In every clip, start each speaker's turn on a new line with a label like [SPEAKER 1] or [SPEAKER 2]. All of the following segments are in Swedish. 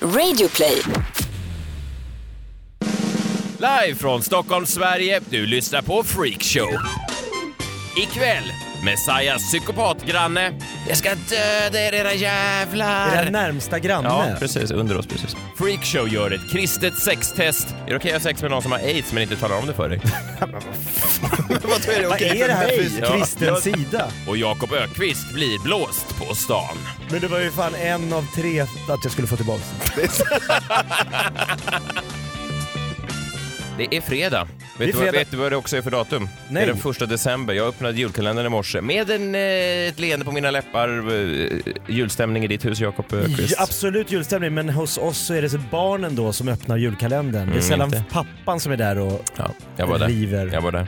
[SPEAKER 1] Radioplay.
[SPEAKER 2] Live från Stockholm, Sverige. Du lyssnar på Freak Show. Ikväll, Messias psykopatgranne. Jag ska döda er era
[SPEAKER 3] Era
[SPEAKER 2] jävlar!
[SPEAKER 3] närmsta
[SPEAKER 2] Ja,
[SPEAKER 3] granne.
[SPEAKER 2] precis. Under oss, precis. Freakshow gör ett kristet sextest. Är det okej att ha sex med någon som har aids men inte talar om det för dig? Vad är det,
[SPEAKER 3] Vad är det här för kristen
[SPEAKER 2] Ja.
[SPEAKER 3] sida?
[SPEAKER 2] Och Jakob Ökvist blir blåst på stan.
[SPEAKER 3] Men det var ju fan en av tre att jag skulle få tillbaka.
[SPEAKER 2] Det är fredag. Vet,
[SPEAKER 3] är
[SPEAKER 2] Du, vad-
[SPEAKER 3] fredag.
[SPEAKER 2] vet du vad det också är för datum?
[SPEAKER 3] Nej.
[SPEAKER 2] Det är den första december. Jag öppnade julkalendern i morse med en, eh, ett leende på mina läppar. Eh, julstämning i ditt hus, Jakob eh, Öqvist.
[SPEAKER 3] Ja, Absolut julstämning, men hos oss så är det så barnen då som öppnar julkalendern. det är
[SPEAKER 2] Mm,
[SPEAKER 3] sällan
[SPEAKER 2] inte.
[SPEAKER 3] pappan som är där och...
[SPEAKER 2] Ja, jag var där.
[SPEAKER 3] River.
[SPEAKER 2] Jag var där.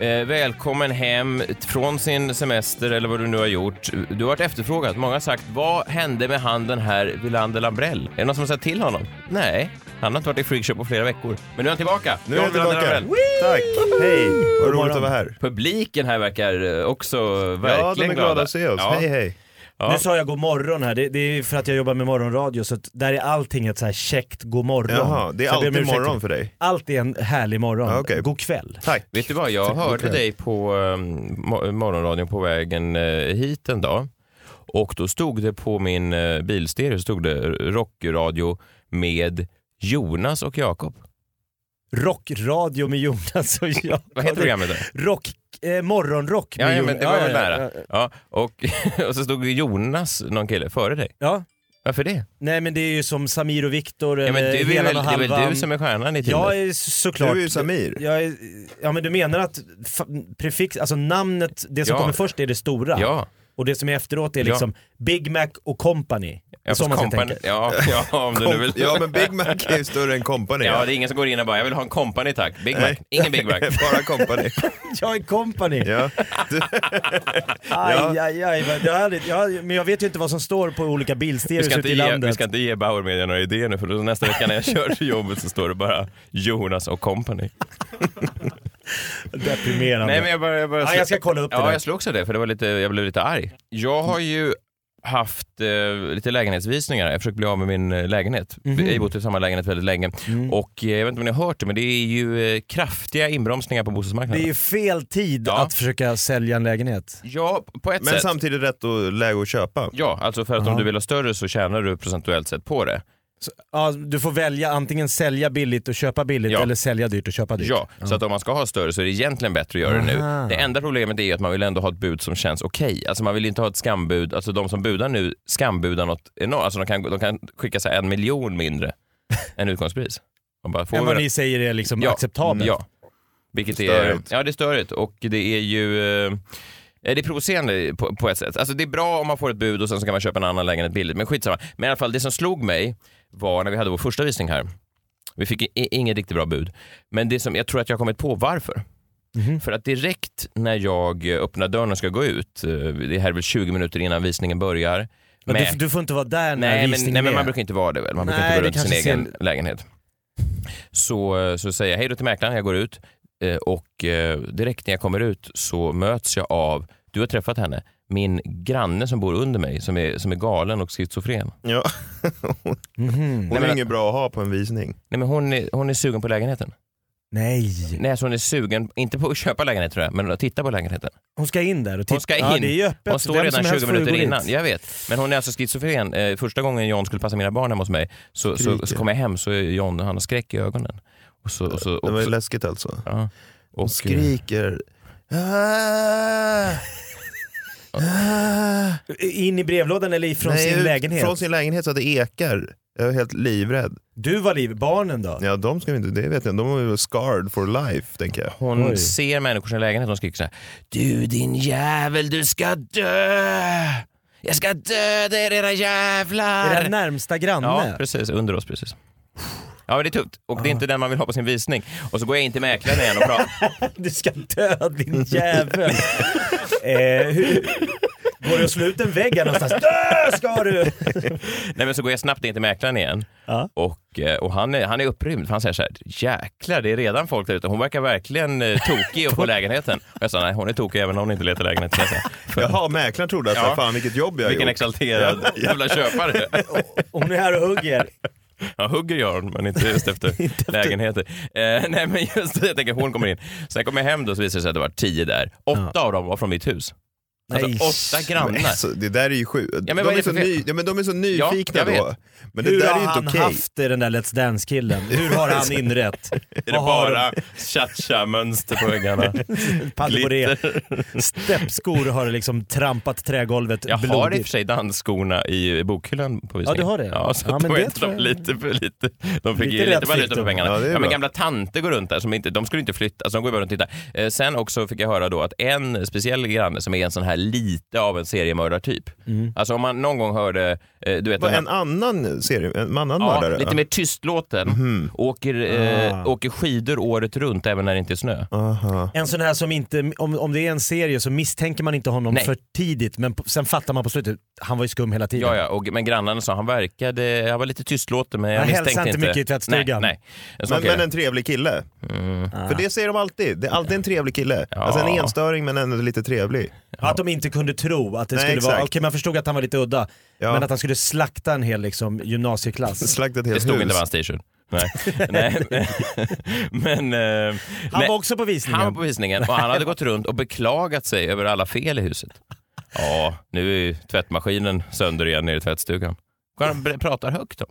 [SPEAKER 2] Eh, välkommen hem från sin semester eller vad du nu har gjort. Du har varit efterfrågad. Många har sagt, vad hände med han den här Wilander Lambrell? Är det någon som har sagt till honom? Nej, han har inte varit i freakshow på flera veckor. Men nu är han tillbaka.
[SPEAKER 4] Nu är jag
[SPEAKER 2] John Wilander
[SPEAKER 4] tillbaka.
[SPEAKER 2] Lambrell.
[SPEAKER 4] Tack. Hej. Vad
[SPEAKER 3] morgon.
[SPEAKER 4] roligt att vara här.
[SPEAKER 2] Publiken här verkar eh, också verkligen
[SPEAKER 4] Ja, de är glada att se oss.
[SPEAKER 2] Ja.
[SPEAKER 4] Hej, hej.
[SPEAKER 2] Ja.
[SPEAKER 3] Nu sa jag god morgon här, det, det är för att jag jobbar med morgonradio så att där är allting ett så här käckt god morgon.
[SPEAKER 4] Jaha, det är
[SPEAKER 3] Så jag ber om
[SPEAKER 4] alltid
[SPEAKER 3] ursäkt.
[SPEAKER 4] morgon för dig.
[SPEAKER 3] Allt är en härlig morgon.
[SPEAKER 4] Ja, okej.
[SPEAKER 3] God kväll.
[SPEAKER 4] Tack.
[SPEAKER 2] Vet du vad, jag hörde dig på um, morgonradion på vägen eh, hit en dag och då stod det på min eh, bilstereo så stod det rockradio med Jonas och Jakob.
[SPEAKER 3] Rockradio med Jonas och jag.
[SPEAKER 2] Vad heter programmet? då?
[SPEAKER 3] Rock, eh, morgonrock med
[SPEAKER 2] Ja, ja,
[SPEAKER 3] Jonas.
[SPEAKER 2] men det var väl nära.
[SPEAKER 3] ja.
[SPEAKER 2] Ja, och, och så stod Jonas, någon kille, före dig.
[SPEAKER 3] Ja,
[SPEAKER 2] Varför det?
[SPEAKER 3] Nej men det är ju som Samir och Viktor
[SPEAKER 2] Ja, men
[SPEAKER 3] eller
[SPEAKER 2] du är
[SPEAKER 3] Helan
[SPEAKER 2] väl, det
[SPEAKER 3] och
[SPEAKER 2] är väl
[SPEAKER 3] Halvan.
[SPEAKER 2] du som är stjärnan i teamet?
[SPEAKER 3] Jag är såklart...
[SPEAKER 4] Du är ju Samir.
[SPEAKER 3] Jag är, ja men du menar att fa- prefix, alltså namnet, det som
[SPEAKER 2] Ja.
[SPEAKER 3] kommer först är det stora
[SPEAKER 2] Ja,
[SPEAKER 3] och det som är efteråt är
[SPEAKER 2] Ja.
[SPEAKER 3] liksom Big Mac och company.
[SPEAKER 2] jag
[SPEAKER 3] så man ska
[SPEAKER 2] kompani-
[SPEAKER 3] tänka.
[SPEAKER 2] ja, ja, om du nu vill.
[SPEAKER 4] Ja, men Big Mac är ju större än Company.
[SPEAKER 2] Ja, det är ingen som går in och bara, jag vill ha en company tack. Big Mac.
[SPEAKER 4] Nej.
[SPEAKER 2] Ingen Big Mac.
[SPEAKER 4] Bara Company.
[SPEAKER 3] Jag är company.
[SPEAKER 4] Ja. Du-
[SPEAKER 3] Aj, aj, aj. Men, det här, är- jag, men jag vet ju inte vad som står på olika
[SPEAKER 2] Vi
[SPEAKER 3] bilstereos
[SPEAKER 2] ska, inte
[SPEAKER 3] ute i
[SPEAKER 2] ge,
[SPEAKER 3] landet.
[SPEAKER 2] vi ska inte ge Bauer Media några idéer nu för då nästa vecka när jag kör till jobbet så står det bara Jonas och company.
[SPEAKER 3] Deprimerande.
[SPEAKER 2] Nej men jag bara... Jag, bara
[SPEAKER 3] ja, jag ska kolla upp det
[SPEAKER 2] ja,
[SPEAKER 3] där.
[SPEAKER 2] jag slog också det för det var lite, jag blev lite arg. Jag har ju haft eh, lite lägenhetsvisningar, jag försöker bli av med min eh, lägenhet. Vi
[SPEAKER 3] Mhm.
[SPEAKER 2] har ju bott i samma lägenhet väldigt länge
[SPEAKER 3] Mm.
[SPEAKER 2] och eh, jag vet inte om ni har hört det men det är ju eh, kraftiga inbromsningar på
[SPEAKER 3] Det
[SPEAKER 2] bostadsmarknaden.
[SPEAKER 3] är ju fel tid
[SPEAKER 2] Ja.
[SPEAKER 3] att försöka sälja en lägenhet.
[SPEAKER 2] Ja, på ett
[SPEAKER 4] Men
[SPEAKER 2] sätt.
[SPEAKER 4] samtidigt rätt och läge att köpa.
[SPEAKER 2] Ja, alltså för att om du vill ha större så tjänar du procentuellt sett på det.
[SPEAKER 3] Ja, du får välja antingen sälja billigt och köpa billigt
[SPEAKER 2] Ja.
[SPEAKER 3] eller sälja dyrt och köpa dyrt.
[SPEAKER 2] Ja, så att om man ska ha större så är det egentligen bättre att göra det
[SPEAKER 3] Aha.
[SPEAKER 2] nu. Det enda problemet är ju att man vill ändå ha ett bud som känns okej. Alltså man vill inte ha ett skambud. Alltså de som budar nu skambudar något enormt. Alltså de kan, de kan skicka sig en miljon mindre än utgångspris. Man bara, får
[SPEAKER 3] Än
[SPEAKER 2] vi
[SPEAKER 3] vad
[SPEAKER 2] det?
[SPEAKER 3] ni säger är liksom
[SPEAKER 2] Ja.
[SPEAKER 3] acceptabelt.
[SPEAKER 2] Ja. Vilket är,
[SPEAKER 4] Störigt.
[SPEAKER 2] ja, det är störigt och det är ju eh, det är provocerande på, på ett sätt. Alltså det är bra om man får ett bud och sen så kan man köpa en annan lägenhet billigt, men skitsamma. Men i alla fall det som slog mig var när vi hade vår första visning här. Vi fick i, inget riktigt bra bud, men det som jag tror att jag har kommit på varför.
[SPEAKER 3] Mhm.
[SPEAKER 2] För att direkt när jag öppnar dörren och ska gå ut, eh, det här är väl 20 minuter innan visningen börjar.
[SPEAKER 3] Men
[SPEAKER 2] med-
[SPEAKER 3] Du, du får inte vara där när
[SPEAKER 2] Nej men,
[SPEAKER 3] visningen
[SPEAKER 2] nej men
[SPEAKER 3] är.
[SPEAKER 2] man brukar inte vara det väl? Man brukar
[SPEAKER 3] Nej,
[SPEAKER 2] inte
[SPEAKER 3] det
[SPEAKER 2] gå runt sin
[SPEAKER 3] kanske
[SPEAKER 2] egen lägenhet. Så, så säger jag hej då till mäklaren, jag går ut eh, och eh, direkt när jag kommer ut så möts jag av, du har träffat henne, min granne som bor under mig som är, som är galen och schizofren.
[SPEAKER 4] Ja.
[SPEAKER 2] Nej,
[SPEAKER 3] Mhm.
[SPEAKER 4] Hon
[SPEAKER 2] men-
[SPEAKER 4] är inget bra att ha på en visning.
[SPEAKER 2] Nej men hon är, hon är sugen på lägenheten.
[SPEAKER 3] Nej,
[SPEAKER 2] Nej alltså hon är sugen, inte på att köpa lägenhet tror jag, men att titta på lägenheten.
[SPEAKER 3] hon ska in där och titta.
[SPEAKER 2] Hon ska in.
[SPEAKER 3] Ja, det är ju öppet.
[SPEAKER 2] Hon står
[SPEAKER 3] Vem
[SPEAKER 2] redan
[SPEAKER 3] som
[SPEAKER 2] 20
[SPEAKER 3] helst får ju
[SPEAKER 2] minuter
[SPEAKER 3] gå dit.
[SPEAKER 2] innan. Jag vet. Men hon är alltså schizofren. Eh, första gången John skulle passa mina barn hemma hos mig så, så,
[SPEAKER 4] Skriker.
[SPEAKER 2] så kom jag hem så är John, han har skräck i ögonen. Och så, och så,
[SPEAKER 4] Det var
[SPEAKER 2] och
[SPEAKER 4] ju
[SPEAKER 2] så,
[SPEAKER 4] läskigt alltså.
[SPEAKER 2] ja. och, eh,
[SPEAKER 4] Hon skriker. Ah! Ah!
[SPEAKER 3] In i brevlådan eller ifrån
[SPEAKER 4] Nej,
[SPEAKER 3] sin
[SPEAKER 4] ut-
[SPEAKER 3] lägenhet?
[SPEAKER 4] Från sin lägenhet så att det ekar. Jag är helt livrädd.
[SPEAKER 3] Du var liv, barnen då?
[SPEAKER 4] Ja, de ska vi inte, det vet jag De är väl scarred for life, tänker jag.
[SPEAKER 2] Hon
[SPEAKER 3] Oj.
[SPEAKER 2] ser människor i sin lägenhet och skriker så här. Du din jävel, du ska dö! Jag ska döda er era
[SPEAKER 3] Är
[SPEAKER 2] jävlar!
[SPEAKER 3] det närmsta
[SPEAKER 2] ja,
[SPEAKER 3] granne?
[SPEAKER 2] precis. Under oss precis. Ja, men det är tufft. Och det är inte den man vill ha på sin visning. Och så går jag in till mäklaren igen och pratar.
[SPEAKER 3] Du ska dö din jävel. eh, hur... Går det att slå ut en vägg här någonstans? Dö ska du!
[SPEAKER 2] Nej men så går jag snabbt in till mäklaren igen
[SPEAKER 3] Ja.
[SPEAKER 2] och, eh, och han, är, han är upprymd för han säger så här, jäklar det är redan folk där ute, hon verkar verkligen eh, tokig på lägenheten. Och jag sa nej hon är tokig även om hon inte letar lägenhet. kan jag säga. För-
[SPEAKER 4] Jaha, mäklaren trodde att
[SPEAKER 2] Ja.
[SPEAKER 4] ja. fan vilket jobb jag
[SPEAKER 2] Vilken
[SPEAKER 4] gjort.
[SPEAKER 2] exalterad jävla köpare.
[SPEAKER 3] Hon är här och hugger.
[SPEAKER 2] Ja, hugger gör hon, men inte just efter lägenheter. Eh, nej, men just det, jag tänker hon kommer in. Sen kommer jag hem då så visar det sig att det var tio där. Åtta av dem var från mitt hus. Alltså
[SPEAKER 3] Nej.
[SPEAKER 2] åtta
[SPEAKER 4] Men
[SPEAKER 2] grannar.
[SPEAKER 4] alltså, det där är ju sjukt.
[SPEAKER 2] men vad
[SPEAKER 4] de,
[SPEAKER 2] är det
[SPEAKER 4] är så
[SPEAKER 2] för fel?
[SPEAKER 4] ny- ja, men de är så nyfikna
[SPEAKER 2] jag vet.
[SPEAKER 4] då. Men det
[SPEAKER 3] Hur
[SPEAKER 4] där är
[SPEAKER 3] har
[SPEAKER 4] ju inte
[SPEAKER 3] han
[SPEAKER 4] okej.
[SPEAKER 3] haft det den där Let's Dance-killen? Hur har han inrett?
[SPEAKER 2] Är det bara cha-cha-mönster på väggarna?
[SPEAKER 3] Paddel Steppskor har liksom trampat trägolvet
[SPEAKER 2] Jag har i och
[SPEAKER 3] blodigt.
[SPEAKER 2] för sig dansskorna i bokhyllan på visningen.
[SPEAKER 3] Ja, du har det.
[SPEAKER 2] Ja, så
[SPEAKER 3] Ja,
[SPEAKER 2] att
[SPEAKER 3] men
[SPEAKER 2] då
[SPEAKER 3] det
[SPEAKER 2] är inte
[SPEAKER 3] tror
[SPEAKER 2] de
[SPEAKER 3] jag-
[SPEAKER 2] lite för lite. De fick
[SPEAKER 3] Lite
[SPEAKER 2] ju
[SPEAKER 3] rätt
[SPEAKER 2] lite
[SPEAKER 3] fick
[SPEAKER 2] valuta för
[SPEAKER 3] de.
[SPEAKER 2] pengarna.
[SPEAKER 4] Ja, det
[SPEAKER 2] Ja,
[SPEAKER 4] är
[SPEAKER 2] men
[SPEAKER 4] bra.
[SPEAKER 2] gamla tanter går runt där, som inte, de skulle inte flytta, alltså de går bara runt och tittar. Eh, sen också fick jag höra då att en speciell granne som är en sån här lite av en seriemördartyp.
[SPEAKER 3] Mm.
[SPEAKER 2] Alltså om man någon gång hörde, eh, du vet, den
[SPEAKER 4] Vad,
[SPEAKER 2] här-
[SPEAKER 4] En annan serie, en Mhm. annan
[SPEAKER 2] Ja,
[SPEAKER 4] mördare?
[SPEAKER 2] lite mer tystlåten. Åker, eh,
[SPEAKER 3] Ah.
[SPEAKER 2] åker skidor året runt även när det inte är snö.
[SPEAKER 4] Aha.
[SPEAKER 3] En sån här som inte, om, om det är en serie så misstänker man inte honom
[SPEAKER 2] Nej.
[SPEAKER 3] för tidigt men p- sen fattar man på slutet, han var ju skum hela tiden.
[SPEAKER 2] Ja, ja, och, men grannarna sa han verkade, han var lite tystlåten men jag
[SPEAKER 3] Han hälsade
[SPEAKER 2] misstänkte inte.
[SPEAKER 3] inte mycket i tvättstugan.
[SPEAKER 2] Nej, nej. En sån
[SPEAKER 4] Men,
[SPEAKER 2] kille.
[SPEAKER 4] men en trevlig kille.
[SPEAKER 2] Mm.
[SPEAKER 4] För det säger de alltid. Det är alltid en trevlig kille. Alltså en enstöring men ändå lite trevlig.
[SPEAKER 3] Att de inte kunde tro att det
[SPEAKER 4] Nej,
[SPEAKER 3] skulle vara, okej
[SPEAKER 4] exakt.
[SPEAKER 3] man förstod att han var lite udda,
[SPEAKER 4] Ja.
[SPEAKER 3] men att han skulle slakta en hel liksom, gymnasieklass.
[SPEAKER 4] Slaktat ett
[SPEAKER 2] Det
[SPEAKER 4] helt
[SPEAKER 2] stod
[SPEAKER 4] hus.
[SPEAKER 2] inte på hans t-shirt. Nej. nej. men, eh,
[SPEAKER 3] Han
[SPEAKER 2] nej.
[SPEAKER 3] var också på visningen.
[SPEAKER 2] han var på visningen och han hade gått runt och beklagat sig över alla fel i huset. Ja, nu är ju tvättmaskinen sönder igen nere i tvättstugan. Och han ber- pratar högt om.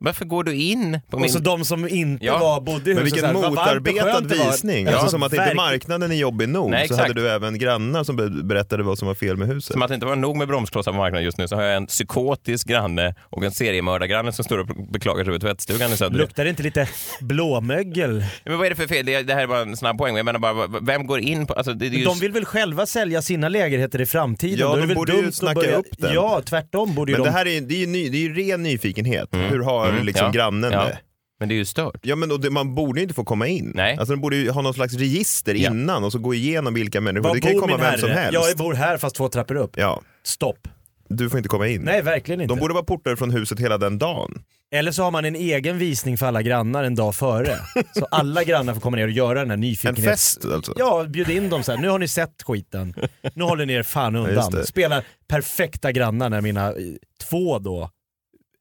[SPEAKER 2] Varför går du in på min...
[SPEAKER 3] Och så de som inte
[SPEAKER 2] Ja.
[SPEAKER 3] var, bodde i
[SPEAKER 4] Men
[SPEAKER 3] huset. så
[SPEAKER 4] vilken
[SPEAKER 3] här, vad varmt och
[SPEAKER 4] motarbetad
[SPEAKER 3] skönt det var.
[SPEAKER 4] visning.
[SPEAKER 3] Ja,
[SPEAKER 4] Alltså som att inte
[SPEAKER 3] verkligen.
[SPEAKER 4] marknaden är jobbig nog
[SPEAKER 2] Nej,
[SPEAKER 4] så
[SPEAKER 2] exakt.
[SPEAKER 4] hade du även grannar som be- berättade vad som var fel med huset.
[SPEAKER 2] Som att det inte var nog med bromsklossar på marknaden just nu så har jag en psykotisk granne och en seriemördargranne som står och beklagar sig över tvättstugan i Södertälje.
[SPEAKER 3] Luktar det inte lite blåmögel?
[SPEAKER 2] Men vad är det för fel? Det det här är bara en snabb poäng. Jag menar bara, v- vem går in på... Alltså, det, det är ju
[SPEAKER 3] De vill väl själva sälja sina lägenheter i framtiden?
[SPEAKER 4] Ja,
[SPEAKER 3] Då är det
[SPEAKER 4] de
[SPEAKER 3] väl
[SPEAKER 4] borde ju
[SPEAKER 3] dumt att
[SPEAKER 4] snacka
[SPEAKER 3] börja...
[SPEAKER 4] upp den.
[SPEAKER 3] Ja, tvärtom borde ju
[SPEAKER 4] Men
[SPEAKER 3] de...
[SPEAKER 4] det här är ju det är ju ny, det är ju ren nyfikenhet. Hur har
[SPEAKER 2] Mm,
[SPEAKER 4] liksom
[SPEAKER 2] ja.
[SPEAKER 4] grannen
[SPEAKER 2] Ja.
[SPEAKER 4] det?
[SPEAKER 2] Men det är ju stört.
[SPEAKER 4] Ja men och det, man borde ju inte få komma in.
[SPEAKER 2] Nej.
[SPEAKER 4] Alltså de borde ju ha någon slags register
[SPEAKER 2] Ja.
[SPEAKER 4] innan och så gå igenom vilka människor.
[SPEAKER 3] Var
[SPEAKER 4] Det kan ju
[SPEAKER 3] bor
[SPEAKER 4] komma
[SPEAKER 3] min
[SPEAKER 4] vem som
[SPEAKER 3] herre?
[SPEAKER 4] helst.
[SPEAKER 3] Ja, Jag bor här fast två trappor upp.
[SPEAKER 4] Ja,
[SPEAKER 3] Stopp.
[SPEAKER 4] du får inte komma in.
[SPEAKER 3] Nej, verkligen inte.
[SPEAKER 4] De borde vara portade från huset hela den dagen.
[SPEAKER 3] Eller så har man en egen visning för alla grannar en dag före. Så alla grannar får komma ner och göra den här
[SPEAKER 4] En
[SPEAKER 3] nyfikenhets...
[SPEAKER 4] fest alltså.
[SPEAKER 3] Ja, bjud in dem så här. Nu har ni sett skiten. Nu håller ni er fan
[SPEAKER 4] just
[SPEAKER 3] undan.
[SPEAKER 4] det.
[SPEAKER 3] Spelar perfekta grannar när mina eh, två då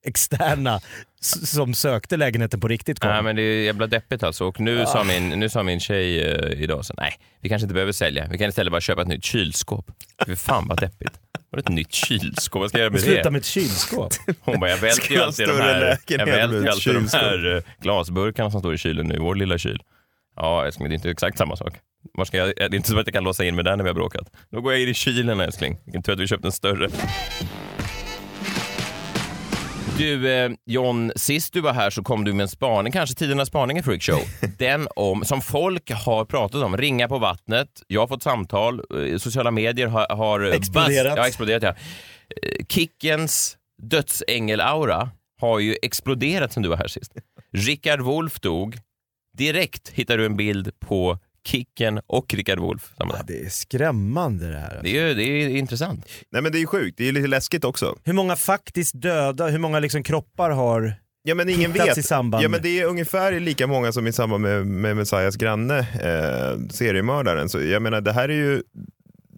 [SPEAKER 3] externa s- som sökte lägenheten på riktigt kom.
[SPEAKER 2] Nej, men det är jävla deppigt alltså. Och nu,
[SPEAKER 4] Ah.
[SPEAKER 2] sa, min, nu sa min tjej eh, idag så nej, vi kanske inte behöver sälja. Vi kan istället bara köpa ett nytt kylskåp. Fy fan vad deppigt. Vadå ett nytt kylskåp? Vad ska jag göra med
[SPEAKER 3] Sluta
[SPEAKER 2] det?
[SPEAKER 3] med ett kylskåp.
[SPEAKER 2] Hon bara, jag välter ju
[SPEAKER 4] ha
[SPEAKER 2] alltid de
[SPEAKER 4] större
[SPEAKER 2] här, jag
[SPEAKER 4] lägenhet
[SPEAKER 2] välter
[SPEAKER 4] med
[SPEAKER 2] ju
[SPEAKER 4] ett
[SPEAKER 2] alltid de
[SPEAKER 4] kylskåp.
[SPEAKER 2] här eh, glasburkarna som står i kylen nu, i vår lilla kyl. Ja, älskling, men det är inte exakt samma sak. Var ska jag, det är inte så att jag kan låsa in mig där när vi har bråkat. Då går jag in i kylen älskling. Vilken tur att vi köpte en större. Du eh, John, sist du var här så kom du med en spaning, kanske tidernas spaning i Freak Show. Den om, som folk har pratat om, ringa på vattnet, jag har fått samtal, eh, sociala medier har... har
[SPEAKER 3] Exploderat.
[SPEAKER 2] Bas, ja, exploderat ja. Eh, Kickens dödsängel-aura har ju exploderat sen du var här sist. Rickard Wolff dog, direkt hittar du en bild på Kicken och Rickard Wolff. samma dag.
[SPEAKER 3] Det är skrämmande det här.
[SPEAKER 2] Det är ju det är ju intressant.
[SPEAKER 4] Nej men det är ju sjukt, det är ju lite läskigt också.
[SPEAKER 3] Hur många faktiskt döda, hur många liksom kroppar har...
[SPEAKER 4] Ja men ingen
[SPEAKER 3] Plats
[SPEAKER 4] vet.
[SPEAKER 3] i samband
[SPEAKER 4] Ja
[SPEAKER 3] med-
[SPEAKER 4] men det är ungefär lika många som i samband med, med Messias granne, eh, seriemördaren. Så jag menar det här är ju,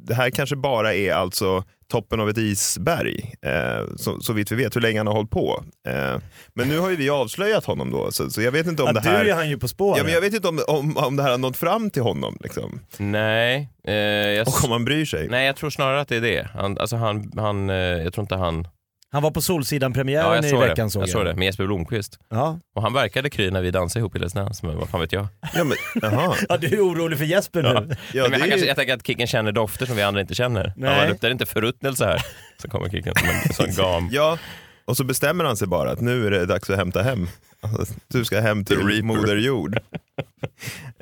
[SPEAKER 4] det här kanske bara är alltså toppen av ett isberg, eh, så, så vitt vi vet hur länge han har hållit på. Eh, men nu har ju vi avslöjat honom då, så, så jag vet inte om
[SPEAKER 3] Ja,
[SPEAKER 4] det
[SPEAKER 3] du
[SPEAKER 4] här...
[SPEAKER 3] är han ju på spåren.
[SPEAKER 4] Ja, men jag vet inte om, om, om det här har nått fram till honom, liksom.
[SPEAKER 2] Nej, eh, jag,
[SPEAKER 4] och om han bryr sig.
[SPEAKER 2] nej, jag tror snarare att det är det. Han, alltså han, han, eh, jag tror inte han...
[SPEAKER 3] Han var på
[SPEAKER 2] Ja,
[SPEAKER 3] Solsidan-premiären
[SPEAKER 2] jag
[SPEAKER 3] i
[SPEAKER 2] såg
[SPEAKER 3] veckan
[SPEAKER 2] det.
[SPEAKER 3] såg
[SPEAKER 2] Jag såg det med Jesper Blomqvist.
[SPEAKER 3] Ja.
[SPEAKER 2] Och han verkade kry när vi dansade ihop i Let's Dance, men vad fan vet jag?
[SPEAKER 4] Ja, men, jaha.
[SPEAKER 3] ja, du är orolig för Jesper
[SPEAKER 2] Ja.
[SPEAKER 3] nu.
[SPEAKER 4] Ja,
[SPEAKER 2] men han
[SPEAKER 4] det är
[SPEAKER 2] kanske,
[SPEAKER 4] ju,
[SPEAKER 2] jag tänker att Kicken känner dofter som vi andra inte känner.
[SPEAKER 3] Nej.
[SPEAKER 2] Han luktar inte förruttnelse här. Så kommer Kicken som en sån gam.
[SPEAKER 4] ja, och så bestämmer han sig bara att nu är det dags att hämta hem. Alltså, Du ska hem till Moder Jord.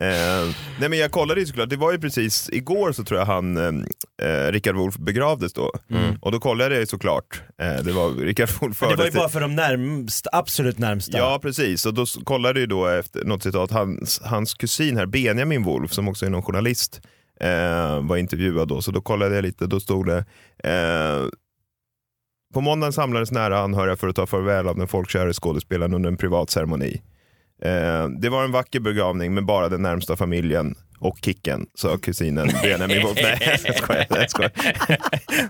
[SPEAKER 4] Eh, nej men jag kollade ju såklart, det var ju precis igår så tror jag han, eh, eh, Rickard Wolff begravdes då. Och då kollade jag ju såklart, eh, det var Rickard Wolff
[SPEAKER 3] Mm. Men det var ju
[SPEAKER 4] fördes till-
[SPEAKER 3] bara för de närmst, absolut närmsta.
[SPEAKER 4] Ja precis, och då s- kollade ju då efter något citat, hans, hans kusin här, Benjamin Wolf som också är någon journalist, eh, var intervjuad då, så då kollade jag lite. Då stod det eh, på måndagen samlades nära anhöriga för att ta farväl av den folkkäre skådespelaren under en privat ceremoni. Eh, det var en vacker begravning med bara den närmsta familjen och Kicken, sa kusinen Benjamin Wolf. Nej, jag skojar. Jag skojar.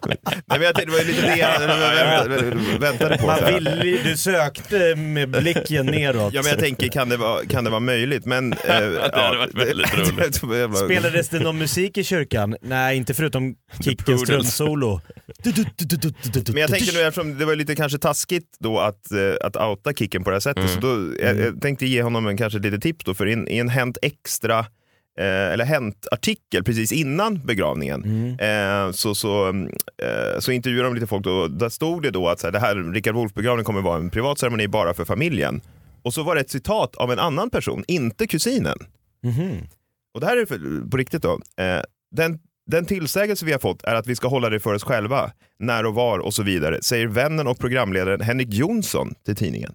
[SPEAKER 4] Nej, men jag tänkte, det var ju lite det jag väntade- väntade på. så
[SPEAKER 3] Man
[SPEAKER 4] här.
[SPEAKER 3] vill, ju- du sökte med blicken neråt.
[SPEAKER 4] Ja, men jag tänker, kan det vara, kan det vara möjligt? Men, eh, det
[SPEAKER 2] hade varit väldigt roligt.
[SPEAKER 4] roligt.
[SPEAKER 3] Spelades det någon musik i kyrkan? Nej, inte förutom Kickens
[SPEAKER 2] Poodles.
[SPEAKER 3] trumsolo. Du, du, du, du, du, du, du,
[SPEAKER 4] Men jag
[SPEAKER 3] du,
[SPEAKER 4] tänker nu, eftersom det var lite kanske taskigt då att, eh, att outa Kicken på det här sättet,
[SPEAKER 2] Mm.
[SPEAKER 4] så då, jag, jag tänkte ge honom en, kanske ett litet tips då, för i en, i en Hänt Extra eh, eller Hänt-artikel precis innan begravningen,
[SPEAKER 2] Mm.
[SPEAKER 4] eh, så, så, mm, eh, så intervjuade de lite folk då, där stod det då att så här, det här Rickard Wolff-begravningen kommer vara en privat ceremoni bara för familjen. Och så var det ett citat av en annan person, inte kusinen.
[SPEAKER 3] Mhm.
[SPEAKER 4] och det här är för, på riktigt då. Eh, den, den tillsägelse vi har fått är att vi ska hålla det för oss själva, när och var och så vidare, säger vännen och programledaren Henrik Jonsson till tidningen.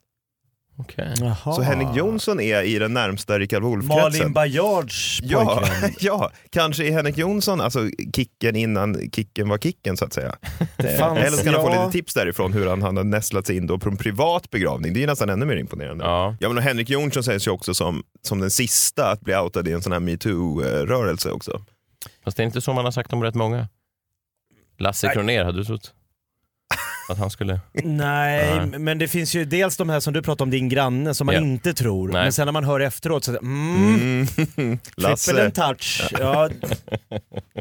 [SPEAKER 2] Okej.
[SPEAKER 3] Jaha.
[SPEAKER 4] Så Henrik Jonsson är i den närmsta Rickard
[SPEAKER 3] Ah. Malin
[SPEAKER 4] Wolff-kretsen.
[SPEAKER 3] Baryards
[SPEAKER 4] Ja,
[SPEAKER 3] pojkvän.
[SPEAKER 4] ja, kanske är Henrik Jonsson, alltså Kicken innan Kicken var Kicken så att säga.
[SPEAKER 3] Det
[SPEAKER 4] Eh,
[SPEAKER 3] fanns-
[SPEAKER 4] Eller så kan han få
[SPEAKER 3] ja.
[SPEAKER 4] lite tips därifrån hur han, han har nästlat sig in då på en privat begravning. Det är ju nästan ännu mer imponerande.
[SPEAKER 2] Ja.
[SPEAKER 4] Ja, men och Henrik Jonsson sägs ju också som, som den sista att bli outad i en sån här metoo-rörelse också.
[SPEAKER 2] Fast det är inte så man har sagt om rätt många. Lasse Kronér, hade du trott? Att han skulle...
[SPEAKER 3] Nej,
[SPEAKER 2] Nej.
[SPEAKER 3] men det finns ju dels de här som du pratade om, din granne, som man
[SPEAKER 2] Ja.
[SPEAKER 3] inte tror.
[SPEAKER 2] Nej.
[SPEAKER 3] Men sen när man hör efteråt så mm, Triple
[SPEAKER 4] Mm. Lasse.
[SPEAKER 3] and touch. Ja.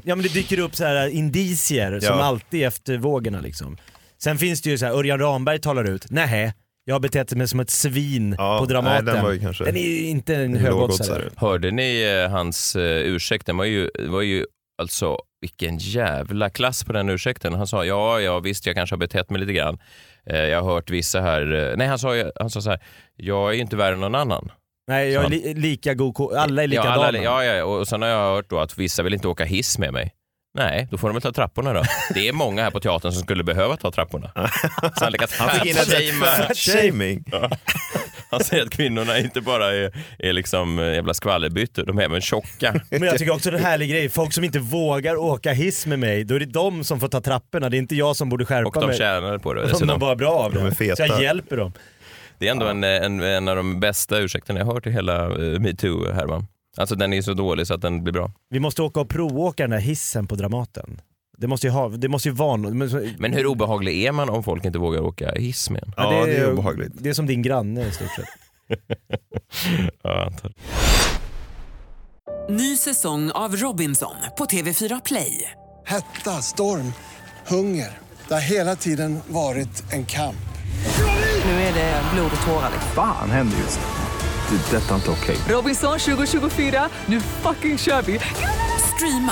[SPEAKER 3] ja men det dyker upp så här indicier som
[SPEAKER 4] Ja.
[SPEAKER 3] alltid efter vågorna liksom. Sen finns det ju så här, Örjan Ramberg talar ut, nej jag har betett mig som ett svin
[SPEAKER 4] Ja,
[SPEAKER 3] på Dramaten.
[SPEAKER 4] nej, den var ju kanske-
[SPEAKER 3] Den är ju inte en
[SPEAKER 4] Lågoddsare.
[SPEAKER 3] högoddsare.
[SPEAKER 2] Hörde ni eh, hans eh, ursäkt? Den var ju, var ju alltså, vilken jävla klass på den ursäkten. Han sa, ja, ja visst, jag kanske har betett mig lite grann. Eh, jag har hört vissa här, eh, nej han sa, ju- han sa så här, jag är ju inte värre än någon annan.
[SPEAKER 3] Nej, jag är li lika god ko- alla är likadana.
[SPEAKER 2] Ja, alla, ja, ja, och och sen har jag hört då att vissa vill inte åka hiss med mig. Nej, då får de väl ta trapporna då. Det är många här på teatern som skulle behöva ta trapporna. Så han lyckas
[SPEAKER 4] Han fick in ett
[SPEAKER 2] fatshamea.
[SPEAKER 4] fat shaming.
[SPEAKER 2] Han säger att kvinnorna inte bara är, är liksom eh, jävla skvallerbyttor, de är även tjocka.
[SPEAKER 3] Men jag tycker också det är en härlig grej, folk som inte vågar åka hiss med mig, då är det de som får ta trapporna, det är inte jag som borde
[SPEAKER 2] Och
[SPEAKER 3] skärpa
[SPEAKER 2] de
[SPEAKER 3] mig.
[SPEAKER 2] tjänade på det
[SPEAKER 3] Om de
[SPEAKER 2] dessutom.
[SPEAKER 3] bara är bra av det.
[SPEAKER 4] är feta.
[SPEAKER 3] Så jag hjälper dem.
[SPEAKER 2] Det är ändå en, en, en av de bästa ursäkterna jag hört i hela eh, metoo-härvan. Alltså den är så dålig så att den blir bra.
[SPEAKER 3] Vi måste åka och provåka den här hissen på Dramaten. Det måste ju, ha, det måste ju vara något. Men,
[SPEAKER 2] Men hur obehaglig är man om folk inte vågar åka hiss med en?
[SPEAKER 4] Ja, det är obehagligt.
[SPEAKER 3] Det är som din granne i stort sett.
[SPEAKER 2] Ja, antar.
[SPEAKER 1] Ny säsong av Robinson på TV4 Play.
[SPEAKER 5] Hetta, storm, hunger. Det har hela tiden varit en kamp.
[SPEAKER 1] Nu är det blod och tårar.
[SPEAKER 6] Fan händer just det. Det är detta inte okej.
[SPEAKER 1] Robinson 2024, nu fucking kör vi! Streama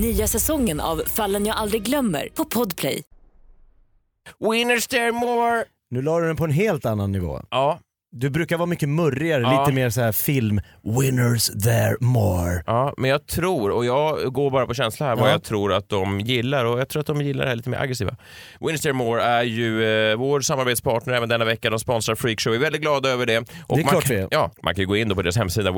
[SPEAKER 7] Nya säsongen av Fallen jag aldrig glömmer på Podplay.
[SPEAKER 2] Winners there more!
[SPEAKER 3] Nu la du den på en helt annan nivå.
[SPEAKER 2] Ja,
[SPEAKER 3] Du brukar vara mycket murrigare,
[SPEAKER 2] Ja.
[SPEAKER 3] lite mer så här film, winners there more.
[SPEAKER 2] ja, men jag tror, och jag går bara på känsla här, vad jag tror att de gillar och jag tror att de gillar det här lite mer aggressiva. Winners there more är ju eh, vår samarbetspartner även denna vecka. De sponsrar Freakshow, vi är väldigt glada över det. Och
[SPEAKER 3] Det är
[SPEAKER 2] man,
[SPEAKER 3] klart
[SPEAKER 2] kan-
[SPEAKER 3] vi är.
[SPEAKER 2] Ja, man kan ju gå in då på deras hemsida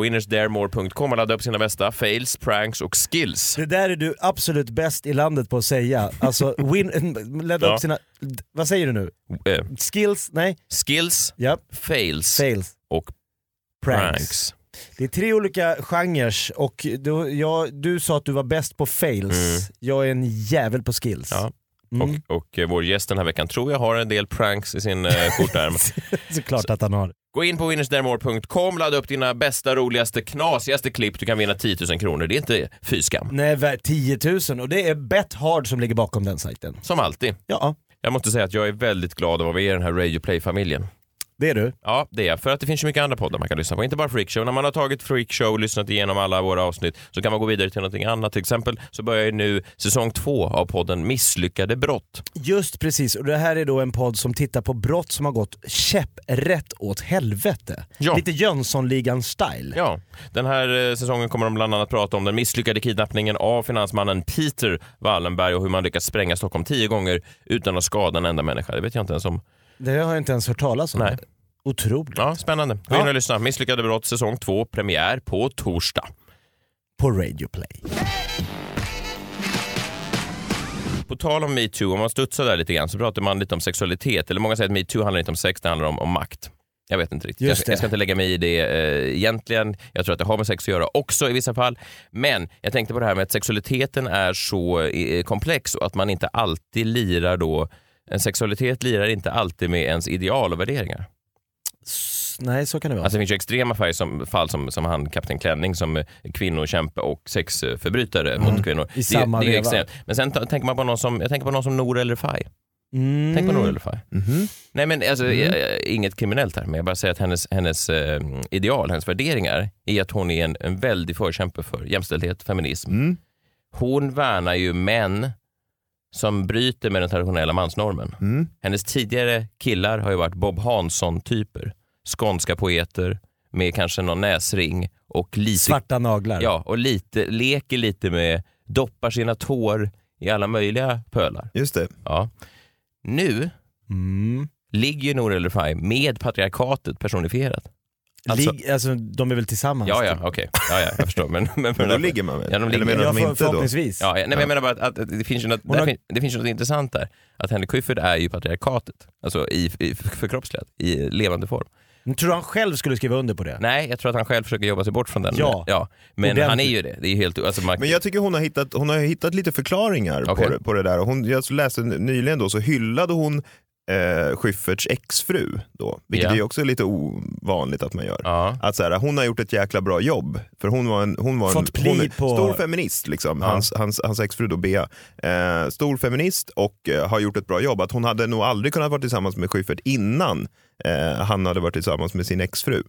[SPEAKER 2] winnersdaremore.com och ladda upp sina bästa fails, pranks och skills.
[SPEAKER 3] Det där är du absolut bäst i landet på att säga. Alltså, win, ladda
[SPEAKER 2] Ja.
[SPEAKER 3] upp sina... Vad säger du nu?
[SPEAKER 2] Eh,
[SPEAKER 3] Skills? Nej?
[SPEAKER 2] skills,
[SPEAKER 3] Ja.
[SPEAKER 2] fails
[SPEAKER 3] Sales?
[SPEAKER 2] och
[SPEAKER 3] Pranks.
[SPEAKER 2] pranks.
[SPEAKER 3] Det är tre olika genrer och du, jag, du sa att du var bäst på fails. Jag är en jävel på skills.
[SPEAKER 2] Mm. Ja.
[SPEAKER 3] Mm.
[SPEAKER 2] Och, och eh, vår gäst den här veckan tror jag har en del pranks i sin eh, kortärm.
[SPEAKER 3] Såklart att han har.
[SPEAKER 2] Gå in på winnersdaremore.com, ladda upp dina bästa, roligaste, knasigaste klipp. Du kan vinna 10 000 kronor. Det är inte fy skam.
[SPEAKER 3] Nej, värt 10 000 och det är Bet Hard som ligger bakom den sajten.
[SPEAKER 2] Som alltid.
[SPEAKER 3] Ja,
[SPEAKER 2] Jag måste säga att jag är väldigt glad över att vi är i den här Radio Play-familjen.
[SPEAKER 3] Det är du.
[SPEAKER 2] Ja, det är jag. För att det finns ju mycket andra poddar man kan lyssna på, inte bara Freakshow. När man har tagit Freakshow och lyssnat igenom alla våra avsnitt så kan man gå vidare till någonting annat. Till exempel så börjar ju nu säsong två av podden Misslyckade brott.
[SPEAKER 3] Just precis, och det här är då en podd som tittar på brott som har gått käpprätt åt helvete.
[SPEAKER 2] Ja.
[SPEAKER 3] Lite Jönssonligan-style.
[SPEAKER 2] Ja, den här eh, säsongen kommer de bland annat prata om den misslyckade kidnappningen av finansmannen Peter Wallenberg och hur man lyckats spränga Stockholm tio gånger utan att skada en enda människa. Det vet jag inte ens om.
[SPEAKER 3] Det har jag inte ens hört talas om.
[SPEAKER 2] Nej.
[SPEAKER 3] Otroligt.
[SPEAKER 2] Ja, spännande. Gå in och lyssna. Misslyckade brott säsong två, premiär på torsdag.
[SPEAKER 3] På Radio Play.
[SPEAKER 2] På tal om metoo, om man studsar där lite grann så pratar man lite om sexualitet. Eller många säger att metoo handlar inte om sex, det handlar om, om makt. Jag vet inte riktigt.
[SPEAKER 3] Just
[SPEAKER 2] Jag ska,
[SPEAKER 3] det.
[SPEAKER 2] jag ska inte lägga mig i det eh, egentligen. Jag tror att det har med sex att göra också i vissa fall. Men jag tänkte på det här med att sexualiteten är så eh, komplex och att man inte alltid lirar då en sexualitet lirar inte alltid med ens ideal och värderingar.
[SPEAKER 3] S- Nej, så kan det vara.
[SPEAKER 2] Alltså det finns ju extrema färg som, fall som, som han, Kapten Klänning, som eh, kvinnokämpe och sexförbrytare mot kvinnor.
[SPEAKER 3] I Mm. samma
[SPEAKER 2] det, det är
[SPEAKER 3] veva.
[SPEAKER 2] extremt. Men sen ta- tänker man på någon som, jag tänker på någon som Nour eller Fai.
[SPEAKER 3] Mm.
[SPEAKER 2] Tänk på Nour eller Fai.
[SPEAKER 3] Mm-hmm.
[SPEAKER 2] Nej men alltså, jag, jag, inget kriminellt här, men jag bara säger att hennes, hennes eh, ideal, hennes värderingar är att hon är en, en väldig förkämpe för jämställdhet, feminism.
[SPEAKER 4] Mm.
[SPEAKER 2] Hon värnar ju män som bryter med den traditionella mansnormen.
[SPEAKER 4] Mm.
[SPEAKER 2] Hennes tidigare killar har ju varit Bob Hansson-typer. Skånska poeter med kanske någon näsring och lite,
[SPEAKER 3] Svarta naglar.
[SPEAKER 2] ja, och lite, leker lite med, doppar sina tår i alla möjliga pölar.
[SPEAKER 4] Just det.
[SPEAKER 2] Ja. Nu
[SPEAKER 3] Mm.
[SPEAKER 2] ligger ju Nour El Refai med patriarkatet personifierat.
[SPEAKER 3] Alltså, Ligg, alltså, de är väl tillsammans?
[SPEAKER 2] Ja, ja,
[SPEAKER 3] typ.
[SPEAKER 2] okej. Ja, ja, jag förstår. Men, men,
[SPEAKER 4] Men då ligger man väl?
[SPEAKER 2] Ja, de ligger.
[SPEAKER 4] Eller menar
[SPEAKER 3] Ja,
[SPEAKER 4] de
[SPEAKER 3] för,
[SPEAKER 4] inte då?
[SPEAKER 3] förhoppningsvis.
[SPEAKER 2] Ja, nej, men jag menar bara att, att det, finns ju något,
[SPEAKER 3] Hon
[SPEAKER 2] där
[SPEAKER 3] har-
[SPEAKER 2] fin- det finns ju något intressant där. Att Henrik Schyffert är ju patriarkatet, alltså i, i förkroppsligat, i levande form.
[SPEAKER 3] Men Tror du han själv skulle skriva under på det?
[SPEAKER 2] Nej, jag tror att han själv försöker jobba sig bort från den.
[SPEAKER 3] Ja.
[SPEAKER 2] Men
[SPEAKER 3] Ordentligt.
[SPEAKER 2] han är ju det. Det är ju helt... Alltså, man,
[SPEAKER 4] Men jag tycker hon har hittat, hon har hittat lite förklaringar
[SPEAKER 2] Okej.
[SPEAKER 4] på, det, på det där. Och Hon, jag läste nyligen då så hyllade hon eh, Schyfferts exfru då, vilket
[SPEAKER 2] Ja.
[SPEAKER 4] är också lite ovanligt att man gör.
[SPEAKER 2] ja.
[SPEAKER 4] Att så här, hon har gjort ett jäkla bra jobb, för hon var en, hon var en,
[SPEAKER 3] Fått pli
[SPEAKER 4] hon är
[SPEAKER 3] på-
[SPEAKER 4] stor feminist, liksom. hans, hans, hans exfru då, Bea. Eh, stor feminist och eh, har gjort ett bra jobb. Att hon hade nog aldrig kunnat vara tillsammans med Schyffert innan eh, han hade varit tillsammans med sin exfru.